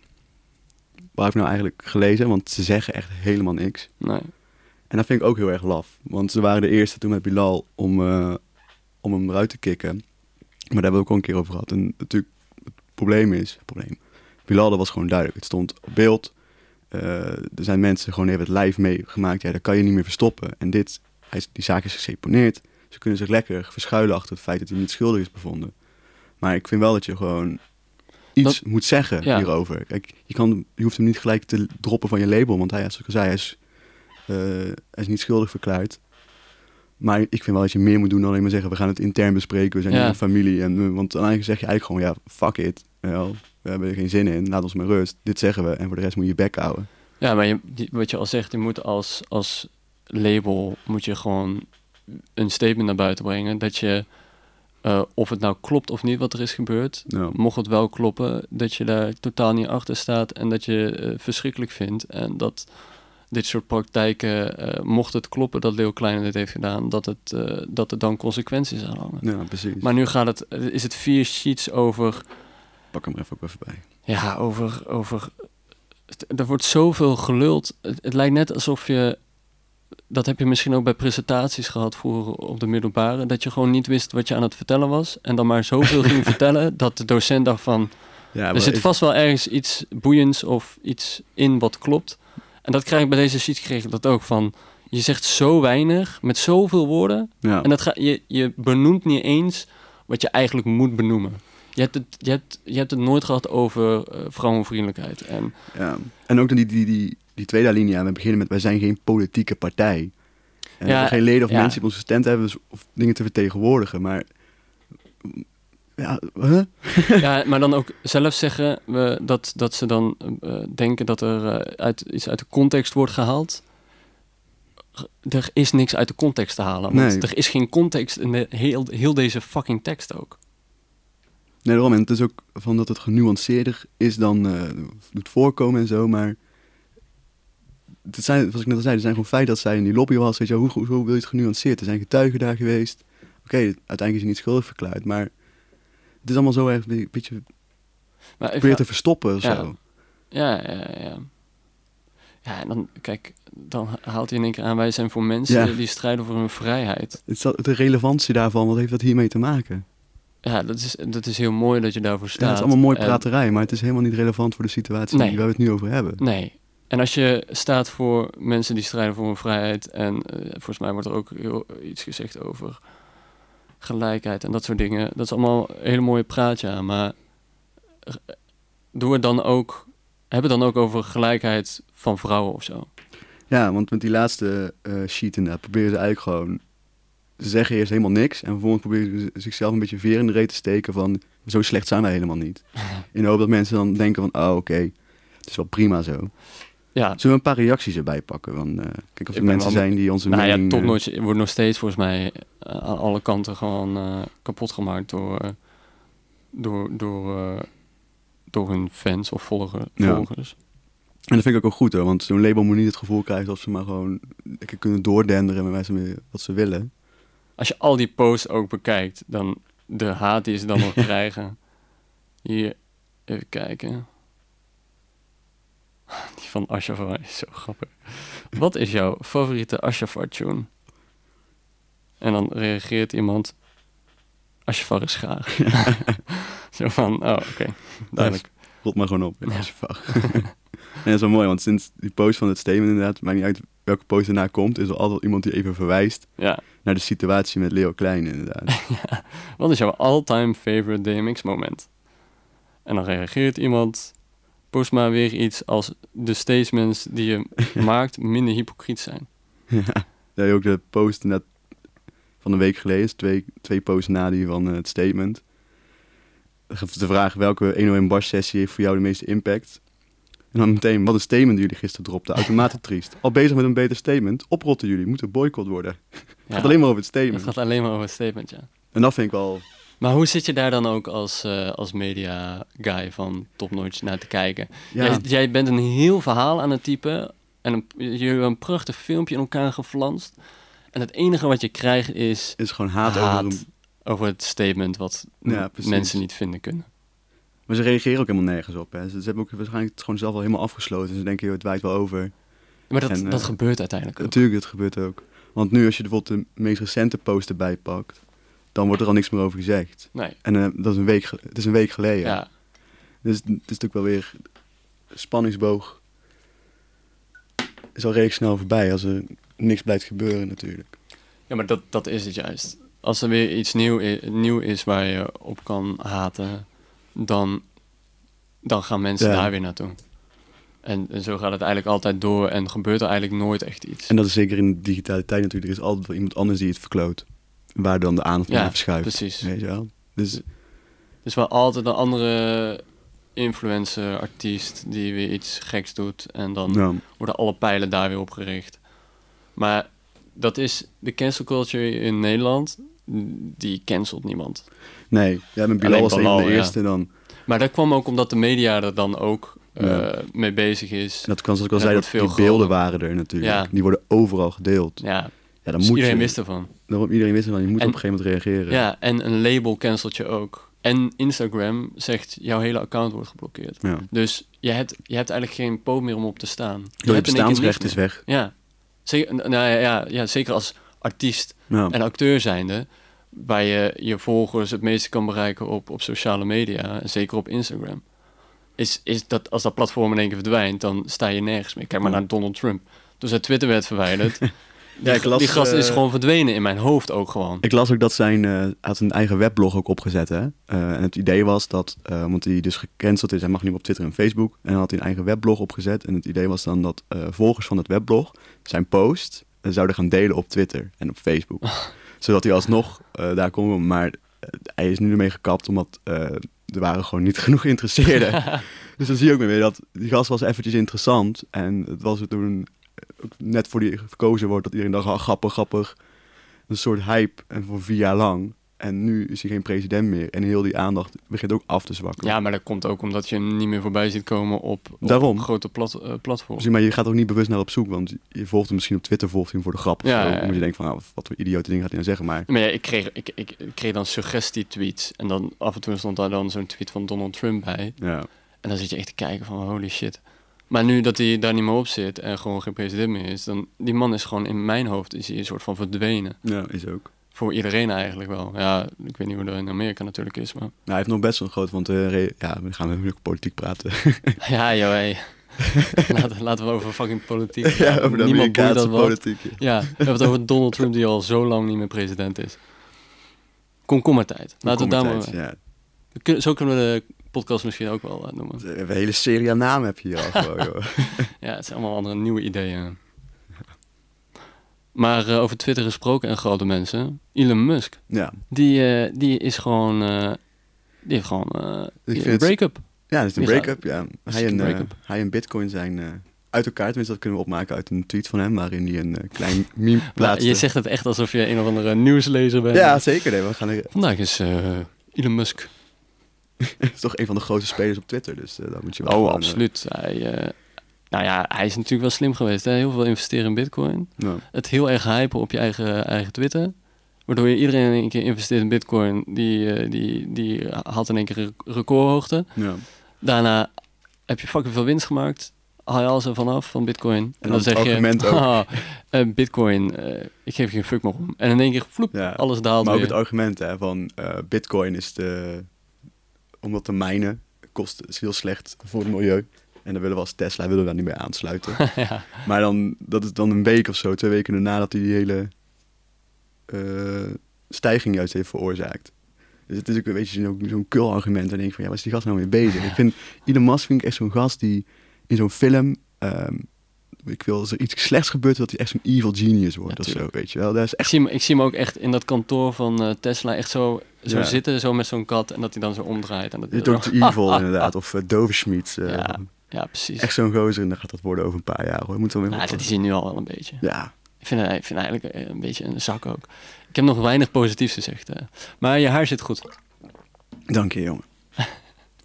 waar heb ik nou eigenlijk gelezen? Want ze zeggen echt helemaal niks.
Nee.
En dat vind ik ook heel erg laf. Want ze waren de eerste toen met Bilal om, eh, om hem eruit te kicken. Maar daar hebben we ook al een keer over gehad. En natuurlijk, het probleem is... Het probleem. Bilal, dat was gewoon duidelijk. Het stond op beeld. Eh, er zijn mensen gewoon even het lijf meegemaakt. Ja, dat kan je niet meer verstoppen. En dit, hij, is- die zaak is geseponeerd. Ze kunnen zich lekker verschuilen achter het feit dat hij niet schuldig is bevonden. Maar ik vind wel dat je gewoon iets moet zeggen
Ja.
hierover. Kijk, je, kan, je hoeft hem niet gelijk te droppen van je label. Want hij, zoals ik al zei, hij is eh, hij is niet schuldig verklaard. Maar ik vind wel dat je meer moet doen dan alleen maar zeggen... we gaan het intern bespreken, we zijn
Ja.
hier een familie. En, eh, want eigenlijk zeg je eigenlijk gewoon, ja, fuck it. Wel, we hebben er geen zin in, laat ons maar rust. Dit zeggen we en voor de rest moet je je bek houden.
Ja, maar je, die- wat je al zegt, je moet als, als label moet je gewoon een statement naar buiten brengen dat je, eh, of het nou klopt of niet wat er is gebeurd,
Nou,
mocht het wel kloppen, dat je daar totaal niet achter staat en dat je eh, verschrikkelijk vindt en dat dit soort praktijken, eh, mocht het kloppen dat Leo Kleine dit heeft gedaan, dat, het, eh, dat er dan consequenties aan hangen.
ja, precies.
Maar nu gaat het, is het vier sheets over
Pak hem er even ook even bij.
ja, over. over het- er wordt zoveel geluld. Het, het lijkt net alsof je. Dat heb je misschien ook bij presentaties gehad vroeger op de middelbare. Dat je gewoon niet wist wat je aan het vertellen was. En dan maar zoveel
(laughs)
ging vertellen dat de docent dacht van...
Ja,
er
maar
zit
ik-
vast wel ergens iets boeiends of iets in wat klopt. En dat krijg ik bij deze sheet kreeg ik dat ook van... Je zegt zo weinig, met zoveel woorden.
ja.
En dat ga, je, je benoemt niet eens wat je eigenlijk moet benoemen. Je hebt het, je hebt, je hebt het nooit gehad over eh, vrouwenvriendelijkheid.
(laughs)
En,
ja. en ook dan die, die, die, die tweede linia. We beginnen met, wij zijn geen politieke partij. En we
Ja,
hebben geen leden of
ja.
mensen die op onze stand hebben... dus- of dingen te vertegenwoordigen, maar... Ja, huh?
ja, maar dan ook zelf zeggen we dat, dat ze dan eh, denken dat er eh, uit, iets uit de context wordt gehaald. Er is niks uit de context te halen. Want
Nee.
er is geen context in de, heel, heel deze fucking tekst ook.
Nee, daarom. En het is ook van dat het genuanceerder is dan eh, het voorkomen en zo, maar... Het zijn, zoals ik net al zei, er zijn gewoon feiten dat zij in die lobby was. Weet je, wel, hoe, hoe, hoe wil je het genuanceerd? Er zijn getuigen daar geweest. Oké, uiteindelijk is hij niet schuldig verklaard, maar... Het is allemaal zo erg een beetje
Maar even-
probeer te verstoppen of
Ja.
zo.
Ja, ja, ja. Ja, en dan, kijk, dan haalt hij in één keer aan... wij zijn voor mensen
Ja.
die strijden voor hun vrijheid.
Het is dat- de relevantie daarvan, wat heeft dat hiermee te maken?
Ja, dat is, dat is heel mooi dat je daarvoor staat.
Ja, het is allemaal mooi
En-
praterij, maar het is helemaal niet relevant voor de situatie
Eh. Nee.
die waar we het nu over hebben.
nee. En als je staat voor mensen die strijden voor hun vrijheid... en eh, volgens mij wordt er ook heel, iets gezegd over gelijkheid en dat soort dingen. Dat is allemaal een hele mooie praat, ja. Maar eh, doe het dan ook... Heb het dan ook over gelijkheid van vrouwen of zo.
Ja, want met die laatste eh sheet inderdaad proberen ze eigenlijk gewoon... Ze zeggen eerst helemaal niks en vervolgens proberen ze zichzelf een beetje veer in de reet te steken van... Zo slecht zijn wij helemaal
(laughs)
niet. In de hoop dat mensen dan denken van, oh oké, het is wel prima zo. Zullen
Ja,
we een paar reacties erbij pakken? Want, eh, kijk of
ben
er mensen
wel-
zijn die onze
nou ja,
mening... eh,
topnotch wordt nog steeds volgens mij eh, aan alle kanten gewoon eh, kapot gemaakt door, eh, door, door, eh, door hun fans of volger-
Ja.
volgers.
En dat vind ik ook wel goed hoor, want zo'n label moet niet het gevoel krijgen dat ze maar gewoon lekker kunnen doordenderen met wijze van wat ze willen.
Als je al die posts ook bekijkt, dan de haat die ze dan nog krijgen. Hier, even kijken. Die van Ashafar is zo grappig. Wat is jouw favoriete Ashafar-tune? En dan reageert iemand... Ashafar is graag. (laughs) zo van, oh, oké. Duidelijk.
Rot maar gewoon op. Ja.
Ja.
als je vraagt. (laughs) en dat is wel mooi, want sinds die post van het statement inderdaad, maakt niet uit welke post erna komt, is er altijd iemand die even verwijst
Ja.
naar de situatie met Leo Klein
(laughs)
inderdaad.
Wat is jouw all-time favorite DMX-moment? En dan reageert iemand. Post maar weer iets als de statements die
(laughs)
je maakt minder hypocriet zijn.
Daar heb je ook de post inderdaad van een week geleden, is twee, twee posts na die van eh, het statement. De vraag welke 101 bar sessie heeft voor jou de meeste impact? En dan meteen, wat een statement jullie gisteren
(laughs)
dropten, automatentriest. Al bezig met een beter statement, oprotten jullie, moet een boycott worden. Het
Ja,
gaat alleen maar over het
het
statement.
gaat alleen maar over het statement, ja.
En dat vind ik wel
Maar hoe zit je daar dan ook als, eh, als media guy van topnotch naar te kijken?
Ja.
Jij, jij bent een heel verhaal aan het typen en een, jullie hebben een prachtig filmpje in elkaar geflanst. En het enige wat je krijgt is
is gewoon haat,
haat
over. Een...
over het statement wat
Ja, precies.
mensen niet vinden kunnen.
Maar ze reageren ook helemaal nergens op. Hè. Ze, ze hebben ook waarschijnlijk het gewoon zelf al helemaal afgesloten. Ze denken, joh, het waait wel over.
Maar dat,
En, eh,
dat gebeurt uiteindelijk ook.
Natuurlijk, dat gebeurt ook. Want nu, als je bijvoorbeeld de meest recente post erbij pakt, dan wordt er al niks meer over gezegd.
Nee,
En eh, dat is een week, ge- het is een week geleden.
ja.
Dus het is natuurlijk wel weer spanningsboog. Is al redelijk snel voorbij als er niks blijft gebeuren natuurlijk.
Ja, maar dat, dat is het juist. Als er weer iets nieuw is, nieuw is waar je op kan haten, dan, dan gaan mensen
Ja.
daar weer naartoe. En, en zo gaat het eigenlijk altijd door en gebeurt er eigenlijk nooit echt iets.
En dat is zeker in de digitale tijd natuurlijk. Er is altijd wel iemand anders die het verkloot. Waar dan de aandacht
Ja,
naar verschuift.
precies.
Weet je wel? Dus
Dus wel altijd een andere influencer, artiest die weer iets geks doet en dan
ja.
worden alle pijlen daar weer op gericht. Maar dat is de cancel culture in Nederland, die cancelt niemand.
Nee, ja, met Bilal
Alleen
was een van
Bilal,
de
ja.
eerste dan.
Maar dat kwam ook omdat de media er dan ook eh,
Ja.
mee bezig is.
En dat kan zoals ik al
Dat
zei, dat
wordt
die
veel
beelden
groter.
waren er natuurlijk.
Ja.
Die worden overal gedeeld. Ja,
Ja,
dan
dus
moet
iedereen
je, eh,
wist ervan.
Dan moet iedereen wisten van je moet
En-
op een gegeven moment reageren.
Ja, en een label cancelt je ook. En Instagram zegt, jouw hele account wordt geblokkeerd.
Ja.
Dus je hebt, je hebt eigenlijk geen poot meer om op te staan. Je
Door je
hebt in één keer niks
bestaansrecht is
meer.
weg.
Ja. Zeker, nou ja, ja, ja, zeker als artiest
Ja.
en acteur zijnde... waar je je volgers het meeste kan bereiken op, op sociale media... en zeker op Instagram. Is, is dat, als dat platform in één keer verdwijnt, dan sta je nergens meer. Kijk maar
Ja.
naar Donald Trump. Toen zijn Twitter werd verwijderd...
(laughs) Ja, ik
die,
las,
die gast is
eh,
gewoon verdwenen in mijn hoofd ook gewoon.
Ik las ook dat zijn, eh, hij had een eigen weblog ook opgezet. Hè? Eh, en het idee was dat, eh, want hij dus gecanceld is, hij mag niet meer op Twitter en Facebook. En hij had hij een eigen weblog opgezet. En het idee was dan dat eh, volgers van het weblog zijn post eh, zouden gaan delen op Twitter en op Facebook. Zodat hij alsnog eh, daar kon. Maar eh, hij is nu ermee gekapt, omdat eh, er waren gewoon niet (laughs) genoeg geïnteresseerden.
(laughs)
dus dan zie je ook weer dat die gast was eventjes interessant. En het was er toen eh, ook net voor die verkozen wordt, dat iedereen dacht, ah, grappig, grappig een soort hype en voor vier jaar lang. En nu is hij geen president meer. En heel die aandacht begint ook af te zwakken.
Ja, maar dat komt ook omdat je hem niet meer voorbij ziet komen op, op
Daarom.
grote plat, eh, platforms.
Dus, maar je gaat ook niet bewust naar op zoek. Want je volgt hem misschien op Twitter, volgt hij hem voor de grap. of
Ja,
zo.
ja, ja.
Omdat je denkt van, nou, wat voor idiote dingen gaat hij nou zeggen. Maar
Maar ja, ik kreeg, ik, ik, ik kreeg dan suggestietweets. En dan af en toe stond daar dan zo'n tweet van Donald Trump bij.
ja,
En dan zit je echt te kijken van holy shit. Maar nu dat hij daar niet meer op zit en gewoon geen president meer is, dan die man is gewoon in mijn hoofd is hij een soort van verdwenen.
ja is ook.
Voor iedereen eigenlijk wel. Ja, ik weet niet hoe dat in Amerika natuurlijk is,
(laughs)
maar
Nou, hij heeft nog best wel een groot, want eh, re- ja, we gaan natuurlijk over politiek praten.
ja, joh, (laughs) hey. laten, laten we over fucking politiek.
(laughs) (laughs) ja,
praten.
over de
Niemand boeit
Amerikaanse
dat wat.
politiek.
Ja, we hebben het over Donald Trump die al zo lang niet meer president is. Komkommertijd. Laten we het daar maar...
Komkommertijd, ja.
We kunnen- Zo kunnen we de podcast misschien ook wel eh, noemen.
We hebben Een hele serie aan namen heb je hier al gewoon,
(laughs)
joh.
Ja, het zijn allemaal andere nieuwe ideeën. Maar eh, over Twitter gesproken en grote mensen. Elon Musk,
Ja,
die, eh, die is gewoon... eh, die heeft gewoon eh,
vind
een
het-
break-up.
ja dat is een
Die gaat-
break-up. Ja.
is
Hij, en,
een
eh,
break-up.
hij en Bitcoin zijn eh, uit elkaar. Tenminste, dat kunnen we opmaken uit een tweet van hem. Waarin hij een eh,
(laughs)
klein meme
Maar
plaatste.
Je zegt het echt alsof je een of andere nieuwslezer bent.
Ja, zeker. Nee, we gaan er, (laughs)
Vandaag is eh, Elon Musk.
het is toch een van de grootste spelers op Twitter, dus eh daar moet je wel
Oh,
gewoon, eh,
absoluut. Hij, eh, nou ja, hij is natuurlijk wel slim geweest. Hè? Heel veel investeren in bitcoin.
ja.
het heel erg hypen op je eigen, eigen Twitter. Waardoor je iedereen in één keer investeert in bitcoin. Die, eh, die, die had in één keer re- recordhoogte.
Ja.
Daarna heb je fucking veel winst gemaakt. haal je alles ervan af van Bitcoin. En,
dan
dan
het
zeg
argument
je,
ook.
"Haha, eh, Bitcoin, eh, ik geef geen fuck meer om. En in één keer, vloep,
Ja.
alles daalt
Maar ook
weer.
het argument hè, van eh, bitcoin is de... Om dat te mijnen kost is heel slecht voor het milieu. En daar willen we als Tesla willen we daar niet mee aansluiten.
(laughs) ja.
maar dan, dat is dan een week of zo, twee weken daarna dat hij die hele eh, stijging juist heeft veroorzaakt. Dus het is ook een beetje zo'n- zo'n kul argument. En dan denk ik van, ja, waar is die gast nou mee bezig? Ik vind, Elon Musk vind ik echt zo'n gast die in zo'n film... ehm, ik wil, als er iets slechts gebeurt, dat hij echt zo'n evil genius wordt
Ja,
of zo,
tuurlijk.
weet je wel. Dat is
ik,
echt...
zie hem, ik zie hem ook echt in dat kantoor van eh, Tesla echt zo, zo
Ja.
zitten, zo met zo'n kat. En dat hij dan zo omdraait. En dat,
Dr.
(laughs)
Evil inderdaad, of uh, Doverschmied. eh,
Ja, ja, precies.
Echt zo'n gozer en dan gaat dat worden over een paar jaar hoor. Moet wel weer
Nou, dat
oppassen.
is hij nu al wel een beetje.
Ja,
Ik vind, hij- ik vind hij eigenlijk eh, een beetje een zak ook. Ik heb nog weinig positiefs gezegd. eh. Maar je haar zit goed.
dank je jongen.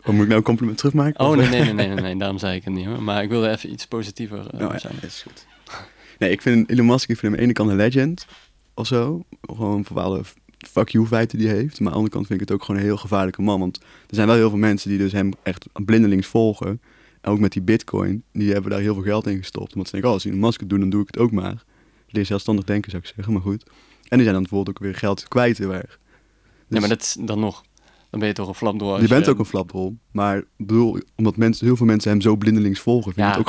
Oh, moet ik nou een compliment terugmaken?
Oh
Of-
nee, nee, nee, nee, nee, nee, daarom zei ik het niet hoor. Maar ik wilde even iets positiever eh,
Nou ja,
zijn.
dat is goed. (laughs) Nee, ik vind Elon Musk, ik vind hem aan de ene kant een legend of zo. Gewoon bepaalde fuck you feiten die hij heeft. Maar aan de andere kant vind ik het ook gewoon een heel gevaarlijke man. Want er zijn wel heel veel mensen die dus hem echt blindelings volgen. En ook met die bitcoin, die hebben daar heel veel geld in gestopt. Want ze denken, oh, als Elon Musk het doet, dan doe ik het ook maar. Leer zelfstandig denken, zou ik zeggen, maar goed. En die zijn dan bijvoorbeeld ook weer geld kwijt heel erg.
Nee,
Dus-
maar dat is dan nog. Dan ben je toch een flapdrol. als
Je bent ook een flapdrol, maar ik bedoel, omdat mensen, heel veel mensen hem zo blindelings volgen, vind ik
Ja.
het ook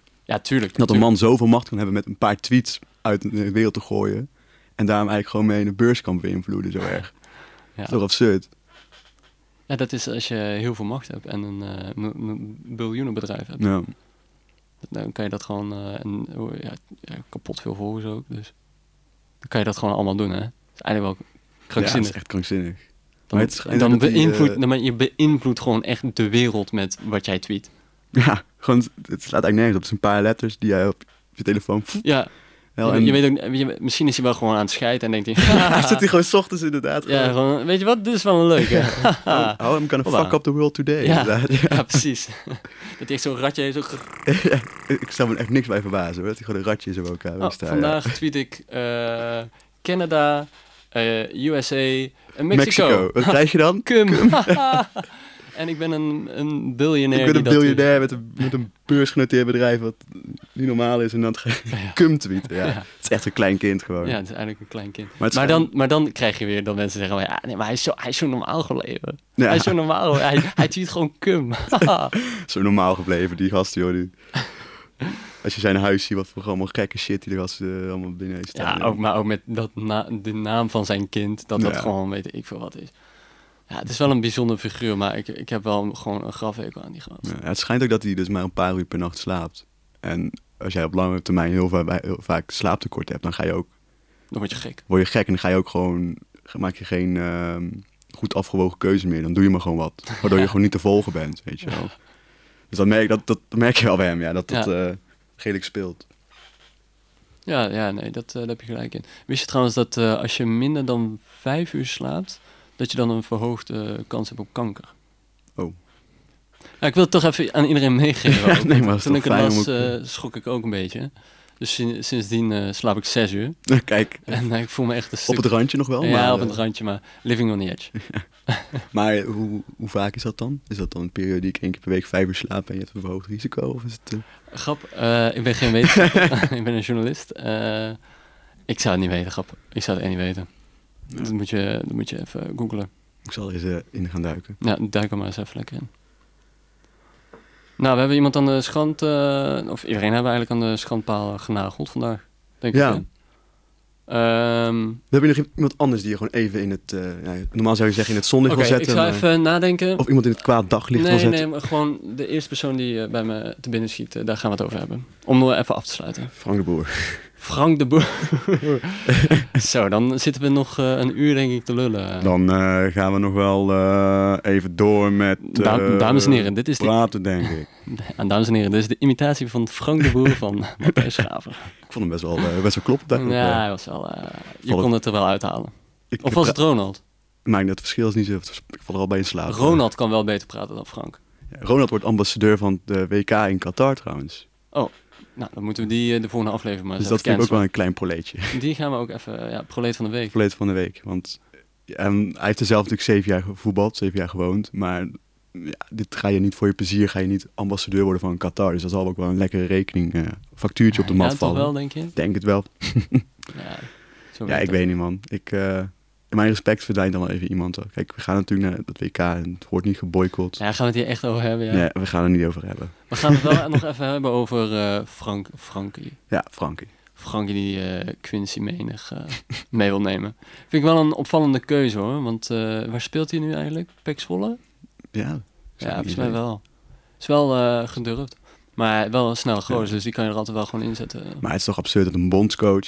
Ja, tuurlijk.
Dat een
tuurlijk.
man zoveel macht kan hebben met een paar tweets uit de wereld te gooien en daarom eigenlijk gewoon mee de beurs kan beïnvloeden zo erg. Dat is toch
Ja.
absurd?
ja, dat is als je heel veel macht hebt en een eh, mil- mil- biljoenenbedrijf hebt.
Ja.
Dan kan je dat gewoon eh, en, oh, ja, ja, kapot veel volgers ook. Dus dan kan je dat gewoon allemaal doen, hè? Dat is eigenlijk wel
Ja, dat
krankzinnig.
is echt krankzinnig. (laughs)
dan
maar het is-
dan
dat die,
beïnvloed,
eh,
dan ben je beïnvloedt gewoon echt de wereld met wat jij tweet.
Ja, gewoon, het slaat eigenlijk nergens op. Het is een paar letters die jij op je telefoon...
Ja,
Wel,
je,
en-
je weet ook, je- misschien is hij wel gewoon aan het scheiden en denkt hij...
(laughs) Hij zit hier gewoon 's ochtends inderdaad.
Ja, (laughs)
gewoon,
gewoon, weet je wat? Dit is wel een
(laughs)
leuke.
oh,
ja,
oh, I'm gonna
Hola.
fuck up the world today. inderdaad. (laughs)
ja, precies. (laughs) Dat hij echt zo'n ratje heeft. Zo... grrr.
ik zou me er echt niks bij verbazen, hoor. Dat hij gewoon een ratje is op elkaar
Oh,
staat, ja.
vandaag tweet ik eh, Canada, eh, USA en Mexico.
Wat krijg je dan?
Cum. (laughs) en ik ben een, een biljonair.
ik ben
die
een
dat
biljonair met een, met een beursgenoteerd bedrijf wat niet normaal is en dan ga
doet. (laughs) Ja.
cum tweeten. Ja.
Ja.
Het is echt een klein kind gewoon.
Ja, het is eigenlijk een klein kind.
Maar
Maar,
het is
dan, maar dan krijg je weer dat mensen zeggen: maar ja, nee, maar hij is zo, hij is zo normaal gebleven.
Ja,
Hij is zo normaal. Hij, hij tweet gewoon
(laughs)
cum. (laughs)
zo normaal gebleven, die gast joh. Die... Als je zijn huis ziet, wat voor allemaal gekke shit die er gast eh, allemaal binnen heeft
Ja,
staan.
ook, maar ook met dat na, de naam van zijn kind, dat dat
Ja.
gewoon weet ik veel wat is. Ja, het is wel een bijzonder figuur, maar ik, ik heb wel gewoon een grafhekel aan die gast.
Ja, het schijnt ook dat hij dus maar een paar uur per nacht slaapt. En als jij op lange termijn heel, va- heel vaak slaaptekort hebt, dan ga je ook,
Dan word je gek.
word je gek en dan ga je ook gewoon, maak je geen ehm, goed afgewogen keuze meer. Dan doe je maar gewoon wat, waardoor
(laughs)
je gewoon niet te volgen bent, weet je wel. Dus dat merk, dat, dat merk je wel bij hem, ja, dat dat eh, redelijk speelt. (laughs)
Ja, ja nee, dat, eh, daar heb je gelijk in. Wist je trouwens dat eh, als je minder dan vijf uur slaapt, dat je dan een verhoogde eh, kans hebt op kanker?
Oh.
Ja, ik wil het toch even aan iedereen
(laughs)
meegeven.
Ja,
ook.
nee, maar dat is
Toen
toch
ik het
fijn om
las,
ook-
eh, schrok ik ook een beetje. Dus sin- sindsdien eh, slaap ik zes uur.
Kijk,
En eh, ik voel me echt een
op
stuk...
het randje nog wel. maar,
ja, op
eh,
het randje, maar living on the
(laughs)
edge.
Maar hoe, hoe vaak is dat dan? Is dat dan een periodiek één keer per week vijf uur slapen en je hebt een verhoogd risico? Of is het, eh,
Grap, eh, ik ben geen
(laughs)
wetenschapper, (laughs) ik ben een journalist. Eh, ik zou het niet weten, grap. Ik zou het echt niet weten. Dat, moet je, dat moet je even googlen.
Ik zal er eens eh, in gaan duiken.
Nou, duik er maar eens even lekker in. Nou, we hebben iemand aan de schand, eh, of iedereen hebben we eigenlijk aan de schandpaal genageld vandaag, denk
Ja.
ik. hè? Ehm,
Dan heb je nog iemand anders die je gewoon even in het... eh, ja, normaal zou je zeggen in het zonlicht
Oké,
wil
ik
zetten.
zou
maar-
even nadenken.
Of iemand in het kwaad daglicht wil
nee,
zetten.
nee, maar gewoon de eerste persoon die eh, bij me te binnen schiet, eh, daar gaan we het over hebben. Om nog even af te sluiten.
Frank de Boer.
Frank de Boer. (laughs) Zo, dan zitten we nog eh, een uur denk ik te lullen.
Dan eh, gaan we nog wel eh, even door met...
Da-
eh,
dames en heren, dit is de-
Praten, denk ik.
En (laughs) dames en heren, dit is de imitatie van Frank de Boer
(laughs)
van Matthijs Schaver.
Ik vond hem best wel, eh, best wel kloppend. eigenlijk.
ja,
Eh,
hij was wel, eh, je
Vond
kon het er wel uithalen.
ik,
Of was het Ronald?
Maakt niet, het verschil is niet zo... Ik val er al bij in slaap.
Ronald kan wel beter praten dan Frank.
Ja, Ronald wordt ambassadeur van de WK in Qatar trouwens.
Nou, dan moeten we die eh, de volgende aflevering maar
Dus
eens
dat
even
vind ik ook wel
cancelen.
een klein (laughs) proleetje.
Die gaan we ook even, ja, proleet van de week.
ehm, Proleet van de week. Want ja, en hij heeft er zelf natuurlijk zeven jaar gevoetbald, zeven jaar gewoond. Maar ja, dit ga je niet voor je plezier, ga je niet ambassadeur worden van Qatar. Dus dat zal ook wel een lekkere rekening, eh, factuurtje op de
Ja,
mat
toch
vallen.
wel, denk je?
Denk het wel.
Ja, zo
Ja,
werkt
ik
dat.
weet niet, man. Ik, eh, mijn respect verdwijnt dan wel even iemand. hoor. Kijk, we gaan natuurlijk naar dat WK en het wordt niet geboycott.
Ja, gaan we het hier echt over hebben, ja.
Nee, we gaan er niet over hebben.
We gaan het wel (laughs) nog even hebben over eh, Frank, Frankie.
Ja, Frankie.
Frankie die eh, Quincy menig eh, mee wil nemen. Vind ik wel een opvallende keuze hoor. Want eh, waar speelt hij nu eigenlijk? Pek Zwolle?
Ja,
Ja, volgens mij wel. Is wel eh, gedurfd. Maar wel een snelle gozer, dus die kan je er altijd wel gewoon inzetten.
Maar het is toch absurd dat een bondscoach,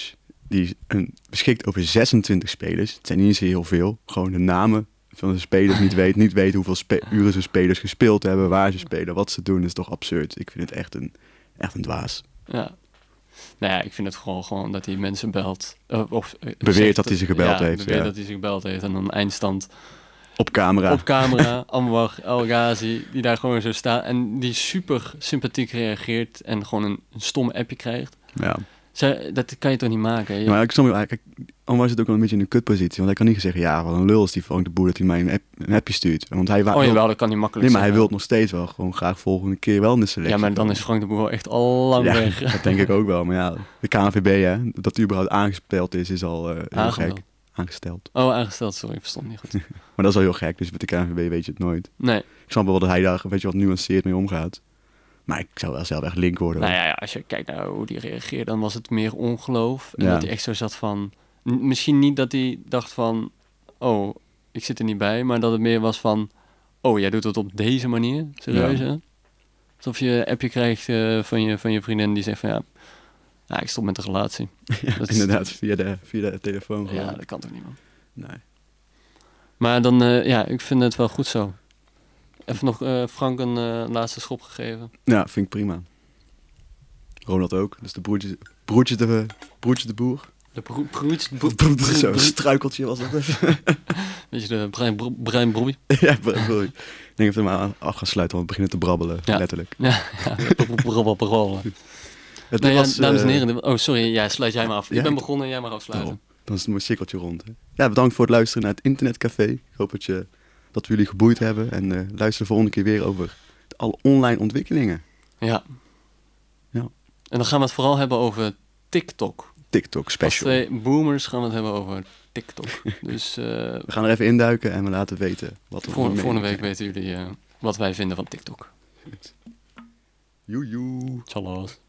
die een, beschikt over 26 spelers, het zijn niet eens heel veel, gewoon de namen van de spelers niet weet, niet weet hoeveel spe- uren ze spelers gespeeld hebben, waar ze spelen, wat ze doen, is toch absurd. Ik vind het echt een, echt een dwaas.
Ja. Nou ja, ik vind het gewoon, gewoon dat hij mensen belt. eh, of, eh,
Beweert
zegt
dat hij ze gebeld
ja,
heeft,
Beweert
ja.
dat hij ze gebeld heeft. En dan eindstand
Op camera.
op
(laughs)
camera. Anwar El Ghazi, die daar gewoon zo staat. En die super sympathiek reageert. En gewoon een, een stom appje krijgt.
Ja.
Zij- dat kan je toch niet maken? Je-
Maar ik snap wel, kijk, Anwar zit ook wel een beetje in een kutpositie, want hij kan niet zeggen, ja, wat een lul is die Frank de Boer dat hij mij een, app, een appje stuurt. Want hij wa-
oh
wil-
jawel, dat kan hij makkelijk
nee, maar hij
zeggen.
wil nog steeds wel gewoon graag volgende keer wel in de selectie.
Ja, maar dan
komen.
is Frank de Boer wel echt al lang
Ja,
weg.
(laughs) Dat denk ik ook wel. Maar ja, de KNVB, hè, dat die überhaupt aangespeeld is, is al eh, heel
Aangesteld.
gek. Aangesteld.
Oh, aangesteld, sorry, ik verstond niet goed.
Maar dat is al heel gek, dus met de KNVB weet je het nooit.
Nee,
Ik snap wel dat hij daar een beetje wat nuanceerd mee omgaat. Maar ik zou wel zelf echt link worden.
nou ja, ja, als je kijkt naar hoe die reageerde, dan was het meer ongeloof. En
Ja.
dat hij echt zo zat van... N- Misschien niet dat hij dacht van... Oh, ik zit er niet bij. Maar dat het meer was van... Oh, jij doet het op deze manier? Serieus, hè? Alsof je een appje krijgt eh, van, je, van je vriendin die zegt van... Ja, nou, ik stop met de relatie.
(laughs) Ja,
dat is-
Inderdaad, via de, via de telefoon gewoon.
Ja, dat kan toch niet, man?
Nee.
Maar dan, eh, ja, ik vind het wel goed zo. Even nog eh, Frank een eh, laatste schop gegeven.
Ja, vind ik prima. Ronald ook. Dus de broertje, broertje, de, broertje de boer.
De broer- broertje- broer- broer-
Zo'n
broer-
struikeltje was dat.
Weet je, de brein, bro- brein broei.
(laughs) ja, broer. Ik denk dat we hem aan- af gaan sluiten, want we beginnen te brabbelen.
Ja.
Letterlijk.
Ja, ja, bro- bro- bro- bro- Nee,
Het
Nou ja,
was,
dames en
eh,
heren. de- Oh, sorry, ja, sluit jij maar af.
ja,
ik ben
ik- Oh.
begonnen, jij mag afsluiten.
Daarom. Dan is het mooi cirkeltje rond. Hè? Ja, bedankt voor het luisteren naar het internetcafé. Ik hoop dat, je, dat we jullie geboeid hebben. En eh, luister de volgende keer weer over alle online ontwikkelingen.
Ja.
Ja.
En dan gaan we het vooral hebben over TikTok.
TikTok
Als
special.
twee boomers gaan we het hebben over
(laughs)
TikTok. dus eh
We gaan er even induiken en we laten weten wat we
voor, volgende week weten jullie eh, wat wij vinden van TikTok.
Joejoe.
Tjallas.